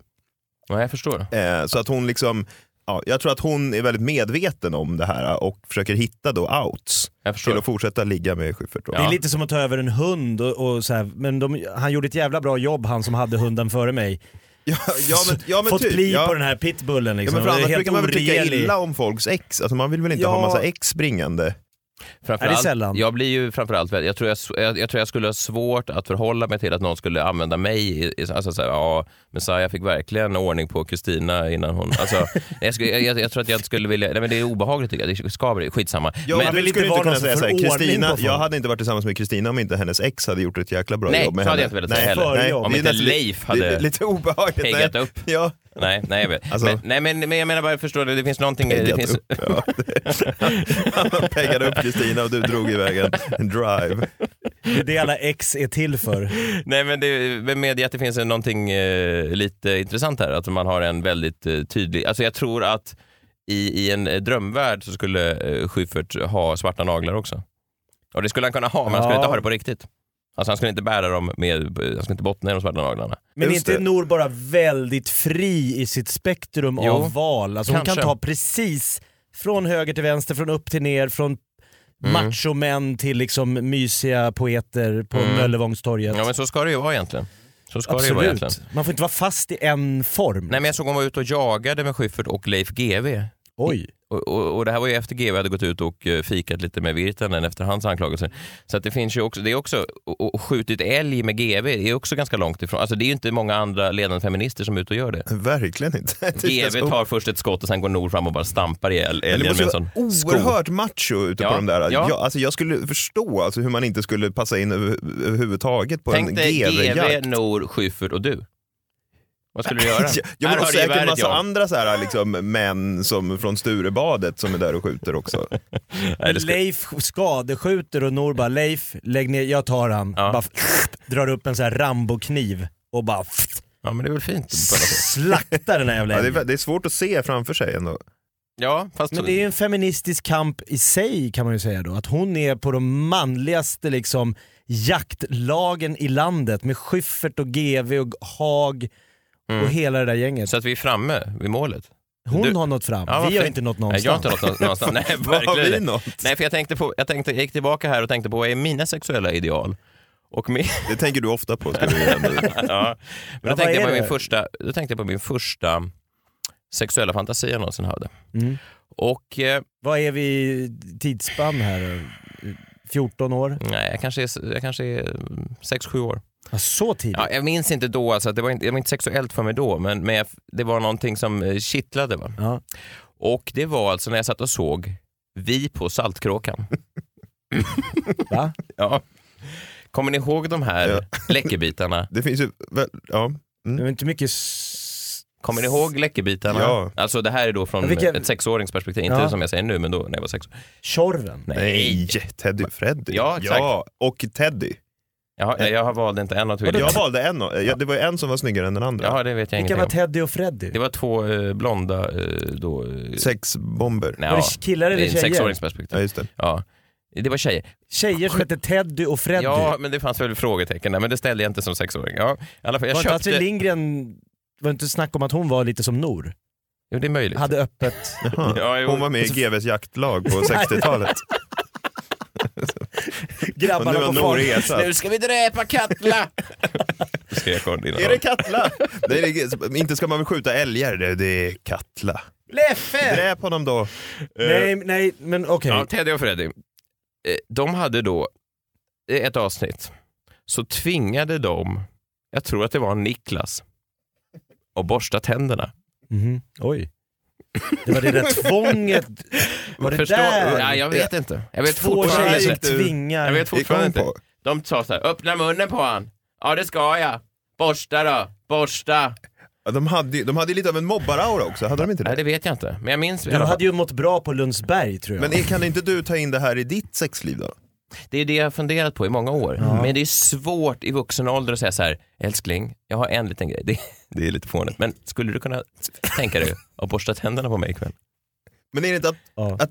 [SPEAKER 2] ja, jag förstår.
[SPEAKER 4] Eh, så att hon liksom, ja, jag tror att hon är väldigt medveten om det här och försöker hitta då outs
[SPEAKER 2] Jag
[SPEAKER 4] till
[SPEAKER 2] förstår.
[SPEAKER 4] att fortsätta ligga med Schyffert. Då.
[SPEAKER 2] Ja.
[SPEAKER 3] Det är lite som att ta över en hund och, och så här, men de, han gjorde ett jävla bra jobb han som hade hunden före mig.
[SPEAKER 4] Ja, ja, men, ja, men
[SPEAKER 3] Fått
[SPEAKER 4] typ.
[SPEAKER 3] pli
[SPEAKER 4] ja.
[SPEAKER 3] på den här pitbullen
[SPEAKER 4] Ja,
[SPEAKER 3] liksom.
[SPEAKER 4] men för
[SPEAKER 3] Det är
[SPEAKER 4] annars
[SPEAKER 3] helt
[SPEAKER 4] brukar man väl tycka
[SPEAKER 3] oregelig.
[SPEAKER 4] illa om folks ex, alltså man vill väl inte
[SPEAKER 3] Ja.
[SPEAKER 4] ha massa ex springande?
[SPEAKER 2] Framförallt,
[SPEAKER 3] Är det sällan?
[SPEAKER 2] Jag blir ju framförallt, väldigt- jag tror jag, jag, jag tror jag skulle ha svårt att förhålla mig till att någon skulle använda mig. I, i- alltså, så här, ja, Messiah fick verkligen ordning på Kristina innan hon... Alltså, jag, skulle, jag- jag, jag tror att jag inte skulle vilja... Nej, men det är obehagligt tycker jag. Det skaver. Skitsamma.
[SPEAKER 4] Ja,
[SPEAKER 2] men,
[SPEAKER 4] men,
[SPEAKER 3] vill
[SPEAKER 4] du
[SPEAKER 3] inte
[SPEAKER 4] skulle inte
[SPEAKER 3] vara
[SPEAKER 4] kunna
[SPEAKER 3] någon
[SPEAKER 4] säga
[SPEAKER 3] som
[SPEAKER 4] såhär,
[SPEAKER 3] får ordning
[SPEAKER 4] Kristina,
[SPEAKER 3] på folk.
[SPEAKER 4] jag hade inte varit tillsammans med Kristina om inte hennes ex hade gjort ett jäkla bra
[SPEAKER 2] Nej,
[SPEAKER 4] jobb med
[SPEAKER 2] så hade
[SPEAKER 4] henne.
[SPEAKER 2] jag inte velat säga heller.
[SPEAKER 3] Nej,
[SPEAKER 2] om
[SPEAKER 4] det är
[SPEAKER 2] inte
[SPEAKER 4] nästan
[SPEAKER 2] Leif
[SPEAKER 4] li-
[SPEAKER 2] hade
[SPEAKER 4] li- Lite obehagligt.
[SPEAKER 2] peggat
[SPEAKER 4] nej.
[SPEAKER 2] upp.
[SPEAKER 4] Ja.
[SPEAKER 2] Nej, nej, jag vet.
[SPEAKER 4] Alltså-
[SPEAKER 2] men, nej men, men jag menar bara, förstår du, det finns någonting... Det
[SPEAKER 4] Peggat
[SPEAKER 2] finns,
[SPEAKER 4] upp. Ja. Han peggade upp Kristina och du drog iväg en- en drive.
[SPEAKER 3] Det är det alla ex är till för.
[SPEAKER 2] Nej men det, men medge att det finns någonting eh, lite intressant här, att man har en väldigt eh, tydlig, alltså jag tror att i, i en eh, drömvärld så skulle eh, Schyffert ha svarta naglar också. Och det skulle han kunna ha, men han skulle
[SPEAKER 3] Ja.
[SPEAKER 2] inte ha det på riktigt. Alltså han skulle inte bära dem med, eh, han skulle inte bottna i de svarta naglarna.
[SPEAKER 3] Men
[SPEAKER 4] Just
[SPEAKER 3] är
[SPEAKER 4] det.
[SPEAKER 3] inte Nor bara väldigt fri i sitt spektrum
[SPEAKER 2] Jo,
[SPEAKER 3] av val? Alltså hon kan
[SPEAKER 2] kanske.
[SPEAKER 3] ta precis från höger till vänster, från upp till ner, från
[SPEAKER 2] Mm.
[SPEAKER 3] Mm. machomän till liksom mysiga poeter på Möllevångstorget.
[SPEAKER 2] Mm. Ja men så ska det ju vara egentligen. Så ska det ju vara
[SPEAKER 3] Absolut.
[SPEAKER 2] egentligen.
[SPEAKER 3] Man får inte vara fast i en form.
[SPEAKER 2] Nej men jag såg hon var ute och jagade med Schyffert och Leif GW
[SPEAKER 3] Oj.
[SPEAKER 2] Och, och, och det här var ju efter GW hade gått ut och eh, fikat lite med Virtanen efter hans anklagelser. Så att det finns ju också, det är också, och, och skjutit älg med GW är också ganska långt ifrån. Alltså det är ju inte många andra ledande feminister som är ute och gör det.
[SPEAKER 4] Verkligen inte. Det känns
[SPEAKER 2] GW tar först ett skott och sen går Nor fram och bara stampar ihjäl
[SPEAKER 4] Men det
[SPEAKER 2] älgen med
[SPEAKER 4] måste
[SPEAKER 2] en
[SPEAKER 4] ju
[SPEAKER 2] sån
[SPEAKER 4] vara
[SPEAKER 2] sko.
[SPEAKER 4] oerhört macho ute
[SPEAKER 2] Ja,
[SPEAKER 4] på de där.
[SPEAKER 2] ja.
[SPEAKER 4] Jag, alltså jag skulle förstå alltså hur man inte skulle passa in över, överhuvudtaget på en
[SPEAKER 2] Tänk dig
[SPEAKER 4] GV-jakt.
[SPEAKER 2] GW, Nor, Schyffert och du. Vad skulle du göra?
[SPEAKER 4] Ja, ja, men
[SPEAKER 2] Här
[SPEAKER 4] och
[SPEAKER 2] har du
[SPEAKER 4] säkert
[SPEAKER 2] geväret,
[SPEAKER 4] massa
[SPEAKER 2] Jan.
[SPEAKER 4] andra så här, liksom, män som, från Sturebadet som är där och skjuter också.
[SPEAKER 2] Nej, det skulle-
[SPEAKER 3] Leif skadeskjuter och Nor bara “Leif, lägg ner, jag tar han”.
[SPEAKER 2] Ja.
[SPEAKER 3] Bara drar upp en sån här Rambo-kniv och bara
[SPEAKER 2] Ja men det är väl fint.
[SPEAKER 3] slaktar den här jävla
[SPEAKER 4] Ja, det,
[SPEAKER 3] älgen.
[SPEAKER 4] är, Mm. det är svårt att se framför sig ändå.
[SPEAKER 2] Ja, fast...
[SPEAKER 3] Men det är ju en feministisk kamp i sig kan man ju säga då. Att hon är på de manligaste liksom, jaktlagen i landet med Schyffert och GV och Haag och hela det där gänget.
[SPEAKER 2] Mm. Så att vi är framme vid målet.
[SPEAKER 3] Hon
[SPEAKER 2] du-
[SPEAKER 3] har nått fram,
[SPEAKER 2] Ja, vad
[SPEAKER 3] vi har
[SPEAKER 2] fint.
[SPEAKER 3] inte nått
[SPEAKER 2] Nej, jag har
[SPEAKER 3] någonstans.
[SPEAKER 2] inte nått nå- någonstans. Nej,
[SPEAKER 4] Vad har
[SPEAKER 2] verkligen
[SPEAKER 4] vi
[SPEAKER 2] inte.
[SPEAKER 4] nått?
[SPEAKER 2] Nej, för jag tänkte på, jag tänkte, jag gick tillbaka här och tänkte på vad är mina sexuella ideal? Och min,
[SPEAKER 4] Det tänker du ofta på. Ska du nämna.
[SPEAKER 2] ja. Men
[SPEAKER 3] vad
[SPEAKER 2] då, tänkte
[SPEAKER 3] är
[SPEAKER 2] jag på
[SPEAKER 3] det?
[SPEAKER 2] min första, då tänkte jag på min första sexuella fantasi jag någonsin hade.
[SPEAKER 3] Mm.
[SPEAKER 2] Och eh,
[SPEAKER 3] Vad är vi i tidsspann här? 14 år?
[SPEAKER 2] nej, jag kanske är, jag kanske är mm, sex, sju år.
[SPEAKER 3] Ja, så tidigt?
[SPEAKER 2] Ja, jag minns inte då, alltså, att det var inte, det var inte sexuellt för mig då, men, men jag, det var någonting som eh, kittlade. Va?
[SPEAKER 3] Ja.
[SPEAKER 2] Och det var alltså när jag satt och såg Vi på Saltkråkan.
[SPEAKER 3] Va?
[SPEAKER 2] Ja. Kommer ni ihåg de här läckerbitarna?
[SPEAKER 4] Det finns ju... väl- Ja.
[SPEAKER 3] Det var inte mycket... s-
[SPEAKER 2] Kommer ni ihåg läckerbitarna?
[SPEAKER 4] Ja.
[SPEAKER 2] Alltså det här är då från
[SPEAKER 3] Vilka-
[SPEAKER 2] ett sexåringsperspektiv, inte
[SPEAKER 3] Ja.
[SPEAKER 2] som jag säger nu, men då när jag var sex år.
[SPEAKER 3] Tjorven?
[SPEAKER 4] Nej, Teddy och Freddy.
[SPEAKER 2] Ja, exakt.
[SPEAKER 4] ja, och Teddy.
[SPEAKER 2] Jag, jag valde inte en av två.
[SPEAKER 4] Jag valde en. och- ja, Det var ju en som var snyggare än den andra.
[SPEAKER 2] Ja, det vet jag
[SPEAKER 3] Vilka
[SPEAKER 2] ingenting
[SPEAKER 3] var
[SPEAKER 2] om.
[SPEAKER 3] Teddy och Freddy?
[SPEAKER 2] Det var två eh, blonda eh, då... Eh,
[SPEAKER 4] Sex bomber.
[SPEAKER 2] nej,
[SPEAKER 3] var det
[SPEAKER 2] ja,
[SPEAKER 3] killar eller
[SPEAKER 2] det är ett
[SPEAKER 3] tjejer?
[SPEAKER 4] Ja,
[SPEAKER 2] sexåringsperspektiv.
[SPEAKER 4] just det.
[SPEAKER 2] Ja. Det var tjejer.
[SPEAKER 3] Tjejer som hette Teddy och Freddy?
[SPEAKER 2] Ja, men det fanns väl frågetecken där, men det ställde jag inte som sexåring. Ja, i alla fall, jag
[SPEAKER 3] var inte Astrid
[SPEAKER 2] köpte...
[SPEAKER 3] Lindgren, var inte snack om att hon var lite som Nor?
[SPEAKER 2] Jo, det är möjligt.
[SPEAKER 3] Hade öppet...
[SPEAKER 4] Jaha.
[SPEAKER 2] Ja, jo.
[SPEAKER 4] Hon var med i GVs jaktlag på 60-talet. Och nu
[SPEAKER 3] Grabbarna
[SPEAKER 4] har
[SPEAKER 3] på
[SPEAKER 4] Nor
[SPEAKER 3] fart.
[SPEAKER 4] ersatt.
[SPEAKER 2] Nu ska vi dräpa Katla! Skrek hon innan.
[SPEAKER 4] Är det Katla? Nej, det är, inte ska man väl skjuta älgar, det, det är Katla.
[SPEAKER 3] Leffe!
[SPEAKER 4] Dräp honom då. Eh,
[SPEAKER 3] Nej, nej, men okej.
[SPEAKER 2] Eh. Ja, Teddy och Freddy. Eh, De hade då i ett avsnitt. Så tvingade de, jag tror att det var Niklas, att borsta tänderna.
[SPEAKER 3] Mhm. Oj. Det var det där tvånget. Var det där?
[SPEAKER 2] Ja, jag vet inte. Jag vet
[SPEAKER 3] Två tjejer
[SPEAKER 2] fortfarande
[SPEAKER 3] som
[SPEAKER 4] gick
[SPEAKER 2] inte.
[SPEAKER 4] du-
[SPEAKER 3] tvingar.
[SPEAKER 2] Jag vet
[SPEAKER 4] Gick hon
[SPEAKER 2] fortfarande inte.
[SPEAKER 4] på?
[SPEAKER 2] De sa så här, öppna munnen på han. Ja, det ska jag. Borsta då, borsta.
[SPEAKER 4] Ja, De hade, ju- de hade ju lite av en mobbaraura också, hade de inte
[SPEAKER 2] Nej,
[SPEAKER 4] det?
[SPEAKER 2] det vet jag inte. Men jag minns i
[SPEAKER 3] Du
[SPEAKER 2] alla fall.
[SPEAKER 3] hade ju mått bra på Lundsberg tror jag.
[SPEAKER 4] Men är- kan inte du ta in det här i ditt sexliv då?
[SPEAKER 2] Det är det jag har funderat på i många år. Men det är svårt i vuxen ålder att säga så här, älskling, jag har en liten grej. Det, det är lite fånigt, men skulle du kunna tänka dig att borsta tänderna på mig ikväll?
[SPEAKER 4] Men är det inte
[SPEAKER 3] Ja.
[SPEAKER 4] att, att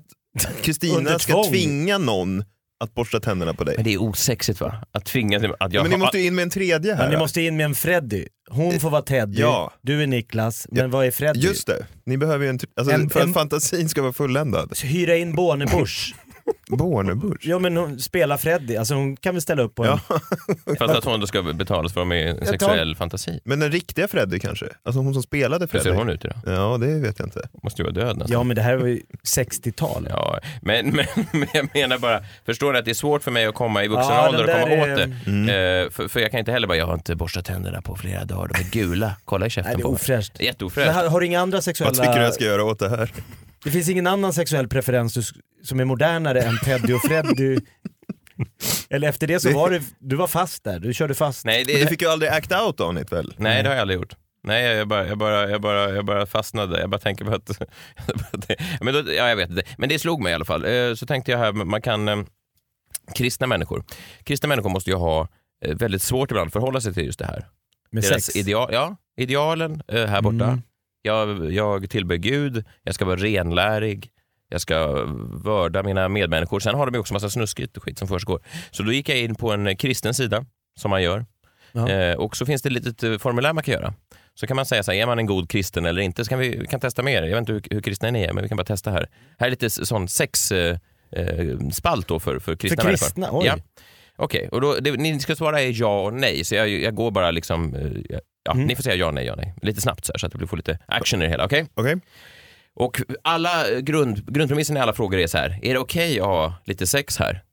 [SPEAKER 4] Kristina
[SPEAKER 3] Under
[SPEAKER 4] ska
[SPEAKER 3] tvång.
[SPEAKER 4] tvinga någon att borsta tänderna på
[SPEAKER 2] Men
[SPEAKER 4] dig?
[SPEAKER 2] det är osexigt va? Att tvinga till att jag...
[SPEAKER 4] Men ni måste ju in med en tredje
[SPEAKER 3] Men
[SPEAKER 4] här.
[SPEAKER 3] ni måste in med en Freddy. Hon får vara Teddy,
[SPEAKER 4] Ja.
[SPEAKER 3] du är Niklas, men vad är Freddy?
[SPEAKER 4] Just det, ni behöver ju en, tr- alltså,
[SPEAKER 3] En-
[SPEAKER 4] för att
[SPEAKER 3] en-
[SPEAKER 4] fantasin ska vara fulländad.
[SPEAKER 3] Så Hyra in Bornebusch.
[SPEAKER 4] Bornebusch.
[SPEAKER 3] ja men hon spelar Freddy, alltså hon kan väl ställa upp på en...
[SPEAKER 4] Ja.
[SPEAKER 2] Fast att hon då ska betalas för med sexuell fantasi.
[SPEAKER 4] Men den riktiga Freddy kanske? Alltså hon som spelade
[SPEAKER 2] Hur
[SPEAKER 4] Freddy?
[SPEAKER 2] ser hon ut idag?
[SPEAKER 4] Ja, det vet jag inte.
[SPEAKER 2] Hon måste ju vara död nästan.
[SPEAKER 3] Ja men det här var ju 60-tal.
[SPEAKER 2] Ja, men, men, men jag menar bara, förstår ni att det är svårt för mig att komma i vuxen
[SPEAKER 3] Ja,
[SPEAKER 2] ålder och
[SPEAKER 3] den
[SPEAKER 2] komma
[SPEAKER 3] där
[SPEAKER 2] åt
[SPEAKER 3] är-
[SPEAKER 2] det. Eh, för, för jag kan inte heller bara, jag har inte borstat tänderna på flera dagar, de är gula. Kolla i käften
[SPEAKER 3] Nej det är
[SPEAKER 2] på mig.
[SPEAKER 3] ofräscht. Men
[SPEAKER 2] Jätteofräscht.
[SPEAKER 3] har, har du inga andra
[SPEAKER 4] Vad tycker du
[SPEAKER 3] sexuella...
[SPEAKER 4] jag ska göra åt det här?
[SPEAKER 3] Det finns ingen annan sexuell preferens du, sk- som är modernare än Teddy och Freddy? Eller efter det så var du, du var fast där, du körde fast.
[SPEAKER 2] Nej, det,
[SPEAKER 4] Men du fick ju aldrig act out on it väl?
[SPEAKER 3] Mm.
[SPEAKER 2] Nej, det har jag aldrig gjort. Nej, jag bara, jag bara, jag bara, jag bara fastnade. Jag bara tänker på att... men då, ja, jag vet inte. Men det slog mig i alla fall. Eh, Så tänkte jag här, man kan... eh, Kristna människor. Kristna människor måste ju ha eh, väldigt svårt ibland att förhålla sig till just det här.
[SPEAKER 3] Med
[SPEAKER 2] Deras
[SPEAKER 3] sex.
[SPEAKER 2] ideal, ja, idealen eh, här borta.
[SPEAKER 3] Mm.
[SPEAKER 2] Jag, jag tillber Gud, jag ska vara renlärig, jag ska vörda mina medmänniskor. Sen har de ju också massa snuskigt och skit som försiggår. Så då gick jag in på en eh, kristen sida, som man gör.
[SPEAKER 3] Ja.
[SPEAKER 2] Eh, och så finns det ett litet eh, formulär man kan göra. Så kan man säga så här, är man en god kristen eller inte? Så kan vi, vi kan testa med er. Jag vet inte hur, hur kristna ni är, men vi kan bara testa här. Här är lite s- sån sex... Eh, eh, spalt då för, för kristna
[SPEAKER 3] För kristna,
[SPEAKER 2] människor.
[SPEAKER 3] oj.
[SPEAKER 2] Ja. Okej, och då, det, ni ska svara är ja och nej, så jag, jag går bara liksom... eh, jag- Ja, Ni får säga ja, nej, ja, nej. Lite snabbt så, här, så att det blir- får lite action i det hela, okej?
[SPEAKER 4] Okej?
[SPEAKER 2] Och alla eh, grund, grundpremissen i alla frågor är så här, är det okej att ha lite sex här?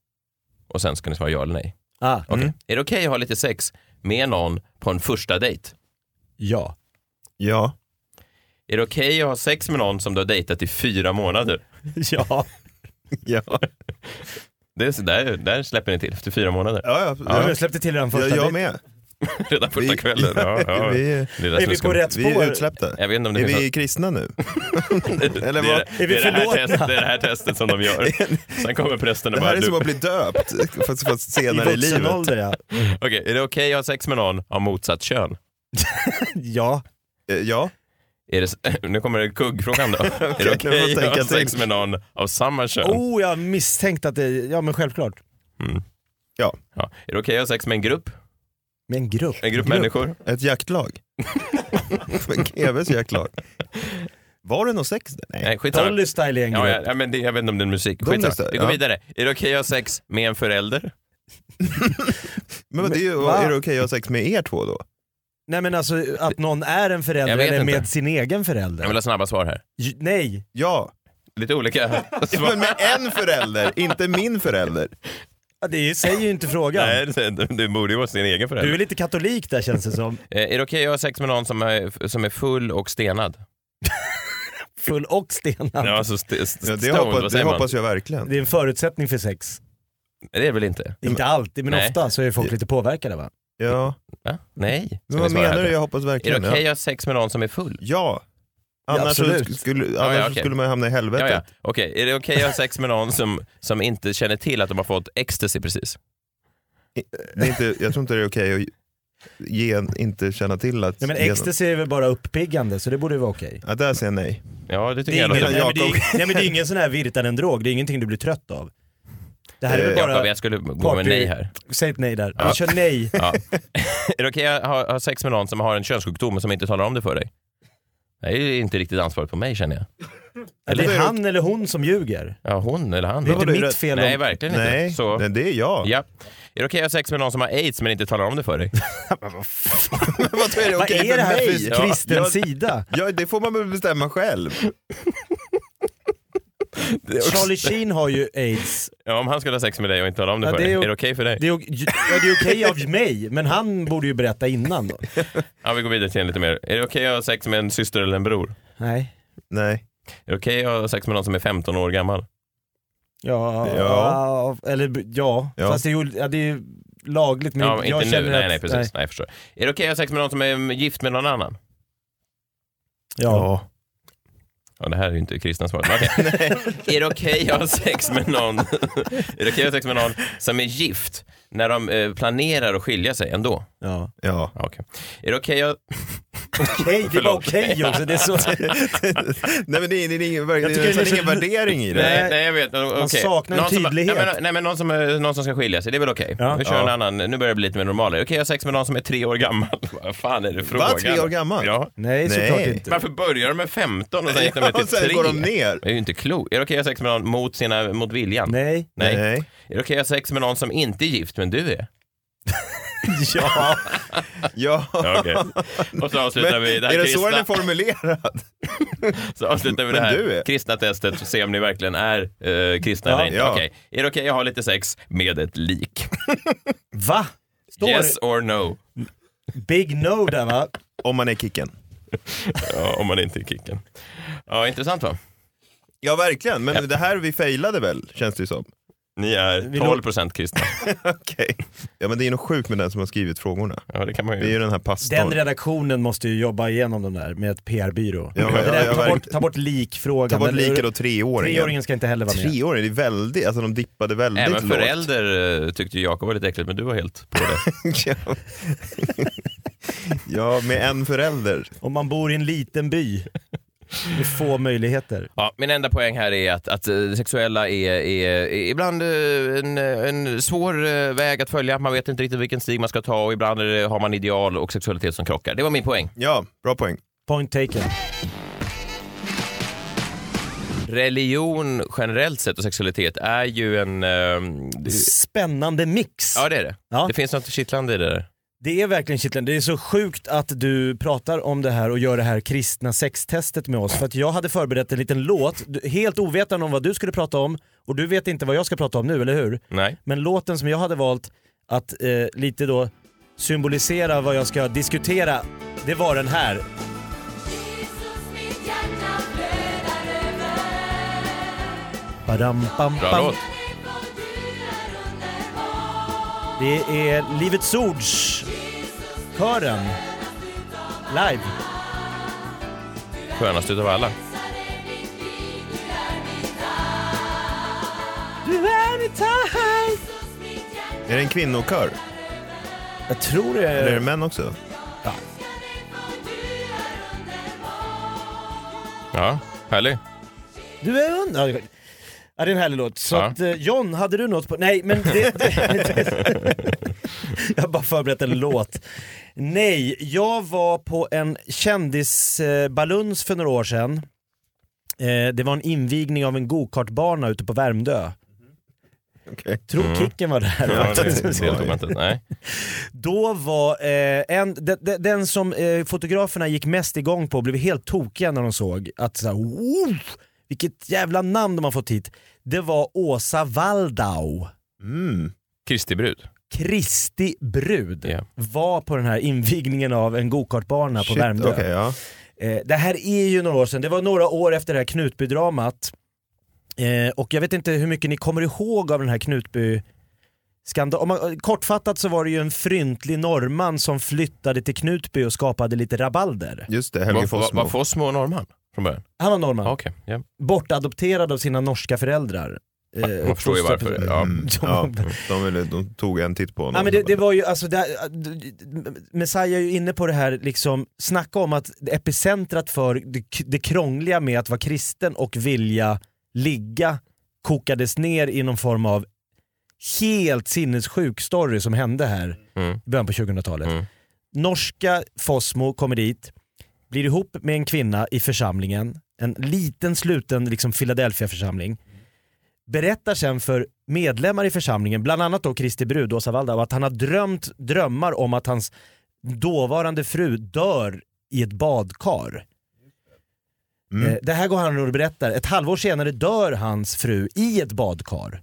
[SPEAKER 2] Och sen ska ni svara ja eller nej.
[SPEAKER 3] Ah,
[SPEAKER 2] Okej. Är det okej att ha lite sex med någon på en första dejt?
[SPEAKER 3] ja.
[SPEAKER 4] Ja.
[SPEAKER 2] Är det okej att ha sex med någon som du har dejtat i fyra månader?
[SPEAKER 3] ja.
[SPEAKER 4] Ja,
[SPEAKER 2] Det är så där, där släpper ni till efter fyra månader.
[SPEAKER 4] ja, ja.
[SPEAKER 3] Ja.
[SPEAKER 4] ja.
[SPEAKER 3] Jag släppte till den
[SPEAKER 4] Jag,
[SPEAKER 3] första.
[SPEAKER 4] jag
[SPEAKER 3] dejten.
[SPEAKER 4] med.
[SPEAKER 2] Redan första
[SPEAKER 4] Vi-
[SPEAKER 2] kvällen. Ja, ja.
[SPEAKER 4] Vi,
[SPEAKER 2] Lilla
[SPEAKER 3] Är vi på
[SPEAKER 2] snuskar.
[SPEAKER 3] rätt
[SPEAKER 4] vi är
[SPEAKER 3] spår?
[SPEAKER 4] utsläppta.
[SPEAKER 2] Jag vet inte om det
[SPEAKER 4] Är
[SPEAKER 2] finns
[SPEAKER 4] vi kristna nu? Eller
[SPEAKER 2] Det är,
[SPEAKER 4] vad?
[SPEAKER 2] det,
[SPEAKER 3] vi
[SPEAKER 2] är det, här
[SPEAKER 3] förlåtna?
[SPEAKER 2] testet, det är det här testet som de gör. Sen kommer prästen och
[SPEAKER 4] Det
[SPEAKER 2] bara...
[SPEAKER 4] här är
[SPEAKER 2] du-
[SPEAKER 4] som att bli döpt, fast, fast senare i
[SPEAKER 3] I vuxen
[SPEAKER 4] livet.
[SPEAKER 3] ålder ja.
[SPEAKER 2] Okej, är det okej att ha sex med någon av motsatt kön?
[SPEAKER 3] ja.
[SPEAKER 4] Eh, Ja,
[SPEAKER 2] Är det, s- nu kommer det kuggfrågan då. är det
[SPEAKER 4] nu får jag
[SPEAKER 2] okej att
[SPEAKER 4] tänka
[SPEAKER 2] ha sex
[SPEAKER 4] till.
[SPEAKER 2] med någon av samma kön? Mm.
[SPEAKER 3] Oh, jag misstänkte att det... Ja, men självklart.
[SPEAKER 2] Ja. Är det okej att ha sex med en grupp?
[SPEAKER 3] Med en grupp.
[SPEAKER 2] En grupp, människor?
[SPEAKER 4] Ett jaktlag. GWs jaktlag. Var det någon sex där?
[SPEAKER 2] Nej, skitsamma.
[SPEAKER 3] Polly Style är en grupp.
[SPEAKER 2] Ja, ja, ja, men det, jag vet inte om det är musik.
[SPEAKER 4] De
[SPEAKER 2] Skitsamma.
[SPEAKER 4] lyssnar,
[SPEAKER 2] Vi går
[SPEAKER 4] ja.
[SPEAKER 2] vidare. Är det okej att ha sex med en förälder?
[SPEAKER 4] Men vad, det är, ju,
[SPEAKER 3] va?
[SPEAKER 4] är det okej att ha sex med er två då?
[SPEAKER 3] Nej men alltså att någon är en
[SPEAKER 2] Jag
[SPEAKER 3] förälder
[SPEAKER 2] vet
[SPEAKER 3] eller
[SPEAKER 2] inte.
[SPEAKER 3] med sin egen förälder.
[SPEAKER 2] Jag vill ha snabba svar här.
[SPEAKER 3] J- Nej,
[SPEAKER 4] Ja,
[SPEAKER 2] Lite olika svar.
[SPEAKER 4] men med en förälder, inte min förälder.
[SPEAKER 3] Ja, det säger ju inte frågan.
[SPEAKER 2] Nej, det- det- det borde ju vara sin egen förälder.
[SPEAKER 3] Du är lite katolik där känns det som.
[SPEAKER 2] Eh, Är det okej att ha sex med någon som är, som är full och stenad?
[SPEAKER 3] Full och stenad.
[SPEAKER 2] Ja, alltså st- st-
[SPEAKER 4] Ja, det
[SPEAKER 2] stoned, vad
[SPEAKER 4] hoppas, det
[SPEAKER 2] säger man?
[SPEAKER 4] hoppas jag verkligen.
[SPEAKER 3] Det är en förutsättning för sex.
[SPEAKER 2] Det är väl inte?
[SPEAKER 3] Inte alltid men
[SPEAKER 2] Nej.
[SPEAKER 3] ofta så är folk lite påverkade va?
[SPEAKER 4] Ja.
[SPEAKER 2] Va? Nej. Ska
[SPEAKER 4] Men vad
[SPEAKER 2] vi svara
[SPEAKER 4] menar
[SPEAKER 2] här?
[SPEAKER 4] du? Jag hoppas
[SPEAKER 2] Är det
[SPEAKER 4] verkligen.
[SPEAKER 2] okej att ha sex med någon som är full?
[SPEAKER 4] Ja. Annars, så
[SPEAKER 3] absolut.
[SPEAKER 4] skulle, annars
[SPEAKER 2] ja,
[SPEAKER 4] så
[SPEAKER 2] okej.
[SPEAKER 4] skulle man ju hamna i helvetet.
[SPEAKER 2] Ja, ja. Okej, är det okej att ha sex med någon som, som inte känner till att de har fått ecstasy precis?
[SPEAKER 4] Det är inte, jag tror inte det är okej att ge, inte känna till att...
[SPEAKER 3] Nej men
[SPEAKER 4] ge-
[SPEAKER 3] ecstasy är väl bara uppiggande så det borde ju vara okej.
[SPEAKER 4] Ja, där säger jag nej.
[SPEAKER 2] Ja, det tycker
[SPEAKER 3] Det är
[SPEAKER 2] jag.
[SPEAKER 3] ingen-
[SPEAKER 2] låter-
[SPEAKER 4] menar
[SPEAKER 3] Nej men det
[SPEAKER 4] Jakob.
[SPEAKER 3] är- nej, men det är ingen sån här Virtanen-drog, det är ingenting du blir trött av. Det här är väl
[SPEAKER 4] Eh,
[SPEAKER 2] Jakob,
[SPEAKER 3] bara...
[SPEAKER 2] jag skulle gå
[SPEAKER 3] party-
[SPEAKER 2] med nej här.
[SPEAKER 3] Säg ett nej där.
[SPEAKER 2] Ja.
[SPEAKER 3] Vi kör nej.
[SPEAKER 2] Ja. är det okej att ha, ha sex med någon som har en könssjukdom och som inte talar om det för dig? Det är ju inte riktigt ansvaret på mig känner jag.
[SPEAKER 3] Det
[SPEAKER 4] Eller-
[SPEAKER 3] är han eller hon som ljuger.
[SPEAKER 2] Ja, hon eller han.
[SPEAKER 3] Det är
[SPEAKER 4] Vadå,
[SPEAKER 3] inte
[SPEAKER 4] är det-
[SPEAKER 3] mitt fel
[SPEAKER 2] Nej,
[SPEAKER 3] om...
[SPEAKER 2] verkligen inte.
[SPEAKER 4] Nej,
[SPEAKER 2] Så,
[SPEAKER 4] nej, det är jag.
[SPEAKER 2] ja. Är det okej att ha sex med någon som har aids men inte talar om det för dig?
[SPEAKER 4] Vad är det
[SPEAKER 3] Vad
[SPEAKER 4] okej
[SPEAKER 3] är det här
[SPEAKER 4] mig?
[SPEAKER 3] för kristen
[SPEAKER 4] ja,
[SPEAKER 3] sida?
[SPEAKER 4] ja, det får man väl bestämma själv.
[SPEAKER 3] Charlie Sheen har ju aids
[SPEAKER 2] Ja, om han skulle ha sex med dig och inte tala om det
[SPEAKER 3] Ja,
[SPEAKER 2] för
[SPEAKER 3] det är
[SPEAKER 2] dig, är
[SPEAKER 3] o-
[SPEAKER 2] det okej för dig?
[SPEAKER 3] Det är, ok- ju- ja, det är okej av mig, men han borde ju berätta innan då.
[SPEAKER 2] Ja, vi går vidare till en lite mer. Är det okej att ha sex med en syster eller en bror?
[SPEAKER 3] Nej.
[SPEAKER 4] Nej.
[SPEAKER 2] Är det okej att ha sex med någon som är 15 år gammal?
[SPEAKER 3] Ja,
[SPEAKER 4] Ja.
[SPEAKER 3] eller b- ja.
[SPEAKER 4] Ja.
[SPEAKER 3] Fast det är ju, ja, det är ju lagligt men
[SPEAKER 2] ja, men
[SPEAKER 3] jag
[SPEAKER 2] inte
[SPEAKER 3] känner
[SPEAKER 2] nu.
[SPEAKER 3] att...
[SPEAKER 2] Nej, nej, precis. Nej. jag förstår. Är det okej att ha sex med någon som är gift med någon annan?
[SPEAKER 3] Ja.
[SPEAKER 2] Ja, det här är ju inte kristna svaret. men okej. är det okej att ha sex med någon? är det okej att ha sex med någon som är gift när de eh, planerar att skilja sig ändå?
[SPEAKER 3] Ja.
[SPEAKER 4] Ja.
[SPEAKER 2] Ja, okej. Är det okej att...
[SPEAKER 3] Okej, det var
[SPEAKER 2] Förlåt.
[SPEAKER 3] okej också. Det är så,
[SPEAKER 4] nej men det är, det är ingen, det är
[SPEAKER 3] tycker det är
[SPEAKER 4] nästan
[SPEAKER 3] så-
[SPEAKER 4] ingen värdering i det.
[SPEAKER 3] Nej.
[SPEAKER 2] Nej, jag vet. Man
[SPEAKER 3] saknar en tydlighet.
[SPEAKER 2] nej, men, nej, men någon som, eh, någon som ska skilja sig, det är väl okej?
[SPEAKER 3] Ja.
[SPEAKER 2] Vi kör en annan. Nu börjar det bli lite mer normalare. Okej, jag har sex med någon som är tre år gammal. Vad fan är det frågan?
[SPEAKER 4] Va, tre år gammal?
[SPEAKER 2] Ja.
[SPEAKER 3] nej, såklart
[SPEAKER 4] Nej.
[SPEAKER 3] inte.
[SPEAKER 2] Varför börjar de med 15 och sen gick de ner till
[SPEAKER 4] och sen
[SPEAKER 2] 3?
[SPEAKER 4] går de ner.
[SPEAKER 2] Det är ju inte klokt. Är det okej att ha sex med någon mot, sina, mot viljan?
[SPEAKER 3] Nej.
[SPEAKER 2] Nej. Är det okej att ha sex med någon som inte är gift, men du är?
[SPEAKER 4] Ja. ja.
[SPEAKER 2] Ja, okej. Och så avslutar
[SPEAKER 4] Men,
[SPEAKER 2] vi det här
[SPEAKER 4] är det så den
[SPEAKER 2] kristna,
[SPEAKER 4] är formulerad?
[SPEAKER 2] så avslutar vi det
[SPEAKER 4] Men
[SPEAKER 2] här
[SPEAKER 4] du är-
[SPEAKER 2] kristna testet och ser om ni verkligen är eh, kristna
[SPEAKER 3] Ja.
[SPEAKER 2] eller inte.
[SPEAKER 4] Ja.
[SPEAKER 2] Okej. Är det okej att ha lite sex med ett lik?
[SPEAKER 3] Va? Står
[SPEAKER 2] Yes or no?
[SPEAKER 3] Big no där va?
[SPEAKER 4] Om man är Kicken.
[SPEAKER 2] Ja, om man inte är kicken. Ja, intressant va?
[SPEAKER 4] Ja verkligen, men det här vi failade väl känns det ju som.
[SPEAKER 2] Ni är 12 procent kristna.
[SPEAKER 4] Okej. Ja men det är något sjukt med den som har skrivit frågorna.
[SPEAKER 2] Ja, det kan man
[SPEAKER 4] Det är
[SPEAKER 2] ju.
[SPEAKER 4] ju den här pastorn.
[SPEAKER 3] Den redaktionen måste ju jobba igenom den där med ett PR-byrå.
[SPEAKER 4] Ja, ja,
[SPEAKER 3] Det där,
[SPEAKER 4] ja,
[SPEAKER 3] ta, bort,
[SPEAKER 4] verkligen.
[SPEAKER 3] ta bort likfrågan.
[SPEAKER 4] Ta bort
[SPEAKER 3] Eller-
[SPEAKER 4] liket och treåringen.
[SPEAKER 3] Treåringen ska inte heller vara med.
[SPEAKER 4] Treåringen, det är väldigt, alltså de dippade väldigt
[SPEAKER 2] Även
[SPEAKER 4] lågt.
[SPEAKER 2] förälder eh, tyckte ju Jakob var lite äckligt, men du var helt på det.
[SPEAKER 4] Ja. ja, med en förälder.
[SPEAKER 3] Om man bor i en liten by med få möjligheter.
[SPEAKER 2] Ja, min enda poäng här är att, att eh, det sexuella är, är, är ibland eh, en, en svår eh, väg att följa. Man vet inte riktigt vilken stig man ska ta och ibland är det, har man ideal och sexualitet som krockar. Det var min poäng.
[SPEAKER 4] Ja, bra poäng.
[SPEAKER 3] Point taken.
[SPEAKER 2] Religion generellt sett och sexualitet är ju en... eh, det-
[SPEAKER 3] Spännande mix.
[SPEAKER 2] ja, det är det.
[SPEAKER 3] Ja.
[SPEAKER 2] Det finns något kittlande i det där.
[SPEAKER 3] Det är verkligen kittlande. Det är så sjukt att du pratar om det här och gör det här kristna sextestet med oss. För att jag hade förberett en liten låt, du- helt ovetande om vad du skulle prata om och du vet inte vad jag ska prata om nu, eller hur?
[SPEAKER 2] Nej.
[SPEAKER 3] Men låten som jag hade valt att eh, lite då symbolisera vad jag ska diskutera, det var den här. Badam, bam,
[SPEAKER 2] Bra
[SPEAKER 3] bam.
[SPEAKER 2] låt.
[SPEAKER 3] Det är Livets Ords kören live.
[SPEAKER 2] Skönast utav alla.
[SPEAKER 4] Är det en kvinnokör?
[SPEAKER 3] Jag tror det
[SPEAKER 4] Eller är det
[SPEAKER 3] är...
[SPEAKER 4] män också?
[SPEAKER 2] Ja, härlig.
[SPEAKER 3] Du är hund... Ja, det- ja, det är en härlig låt. Så
[SPEAKER 2] Ja.
[SPEAKER 3] att, eh, John, hade du något på... Nej, men det... det, det jag har bara förberett en låt. Nej, jag var på en kändisbaluns för några år sedan. Eh, Det var en invigning av en gokartbana ute på Värmdö.
[SPEAKER 4] Okej.
[SPEAKER 3] Tror Kicken var där.
[SPEAKER 2] Mm. Ja, det,
[SPEAKER 4] det-
[SPEAKER 2] det deltog man inte. Nej.
[SPEAKER 3] Då var eh, en, de, de, den som eh, fotograferna gick mest igång på blev helt tokiga när de såg att så här, "Wow, vilket jävla namn de har fått hit. Det var Åsa Waldau,
[SPEAKER 4] Mm.
[SPEAKER 2] Kristi brud.
[SPEAKER 3] Kristi brud,
[SPEAKER 2] Ja.
[SPEAKER 3] var på den här invigningen av en gokartbana på
[SPEAKER 4] Shit,
[SPEAKER 3] Värmdö.
[SPEAKER 4] okej, ja.
[SPEAKER 3] Eh, det här är ju några år sedan, det var några år efter det här Knutby-dramat. Eh, och jag vet inte hur mycket ni kommer ihåg av den här Knutby Skandal. Om man, kortfattat så var det ju en fryntlig norrman som flyttade till Knutby och skapade lite rabalder.
[SPEAKER 4] Just det, Helge
[SPEAKER 2] Var, var,
[SPEAKER 4] Fossmo.
[SPEAKER 2] var Fossmo och norrman från början?
[SPEAKER 3] Han var norrman,
[SPEAKER 2] Ja. Okej, ja.
[SPEAKER 3] bortadopterad av sina norska föräldrar. Eh,
[SPEAKER 2] man förstår ju
[SPEAKER 3] uppfostrad på-
[SPEAKER 2] varför. Ja.
[SPEAKER 4] Mm. Ja, de, ville, de tog en titt på honom.
[SPEAKER 3] Ja, men det, det var ju, alltså, det, Messiah är ju inne på det här, liksom, snacka om att epicentrat för det, det krångliga med att vara kristen och vilja ligga kokades ner i någon form av helt sinnessjuk story som hände här
[SPEAKER 2] Mm.
[SPEAKER 3] i början på 2000-talet.
[SPEAKER 2] Mm.
[SPEAKER 3] Norska Fosmo kommer dit, blir ihop med en kvinna i församlingen, en liten sluten liksom Philadelphia-församling. Berättar sen för medlemmar i församlingen, bland annat då Kristi brud Åsa Waldau, att han har drömt drömmar om att hans dåvarande fru dör i ett badkar.
[SPEAKER 4] Mm.
[SPEAKER 3] Eh, Det här går han och berättar. Ett halvår senare dör hans fru i ett badkar.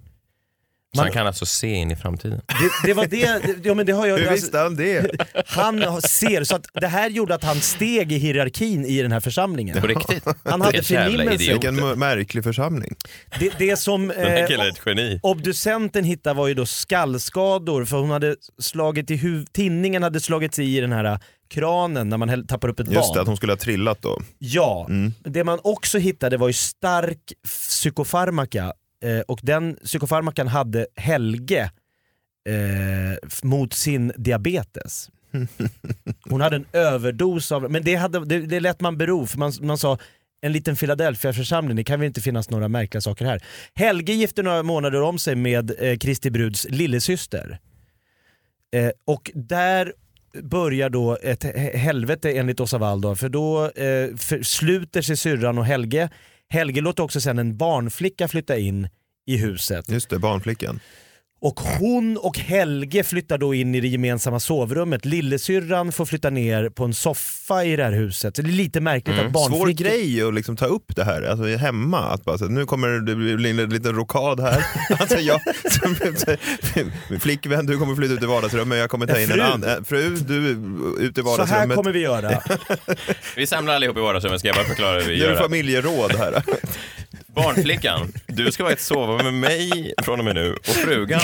[SPEAKER 2] Så han kan alltså se in i framtiden.
[SPEAKER 3] Det, det var det, det- ja, men det har jag...
[SPEAKER 4] Hur
[SPEAKER 3] alltså-
[SPEAKER 4] visste han det?
[SPEAKER 3] han har- ser, så att det här gjorde att han steg i hierarkin i den här församlingen.
[SPEAKER 2] På riktigt.
[SPEAKER 3] Han hade
[SPEAKER 2] Vilket jävla
[SPEAKER 3] förnimmelse.
[SPEAKER 2] idiot.
[SPEAKER 4] Vilken mör- märklig församling.
[SPEAKER 3] Det, det som
[SPEAKER 2] Den här
[SPEAKER 3] eh,
[SPEAKER 2] killen är ett geni.
[SPEAKER 3] obducenten hittade var ju då skallskador för hon hade slagit i huv- tinningen hade slagits i den här eh, kranen när man häll- tappar upp ett
[SPEAKER 4] Just det,
[SPEAKER 3] barn.
[SPEAKER 4] att hon Mm. skulle ha trillat då.
[SPEAKER 3] Ja, det man också hittade var ju stark psykofarmaka eh, och den psykofarmakan hade Helge eh, f- mot sin diabetes. Hon hade en överdos av, men det, hade, det, det lät man bero för man, man sa en liten Philadelphia-församling, det kan väl inte finnas några märkliga saker här. Helge gifte några månader om sig med eh, Kristi Bruds lillasyster. Eh, och där börjar då ett he- helvete enligt Åsa Waldau för då eh, för, sluter sig syrran och Helge. Helge låter också sen en barnflicka flytta in i huset
[SPEAKER 4] Just det, barnflickan.
[SPEAKER 3] och hon och Helge flyttar då in i det gemensamma sovrummet. Lillesyrran får flytta ner på en soffa i det här huset. Så det är lite märkligt att barnflickor...
[SPEAKER 4] Mm. Svår grej att liksom ta upp det här, alltså hemma. Att bara, så, här, nu kommer det bli en liten rokad här. Alltså, jag, min flickvän, du kommer flytta ut i vardagsrummet, jag kommer ta in
[SPEAKER 3] Fru.
[SPEAKER 4] en annan. Eh, Fru, du eh, ut i
[SPEAKER 3] Så här
[SPEAKER 4] vardagsrummet.
[SPEAKER 3] kommer vi göra.
[SPEAKER 2] Vi samlar allihop i vardagsrummet, ska jag bara förklara hur vi
[SPEAKER 4] Nu är
[SPEAKER 2] gör.
[SPEAKER 4] det
[SPEAKER 2] det här.
[SPEAKER 4] familjeråd här.
[SPEAKER 2] Barnflickan, du ska vara ett sova med mig från och med nu. Och frugan,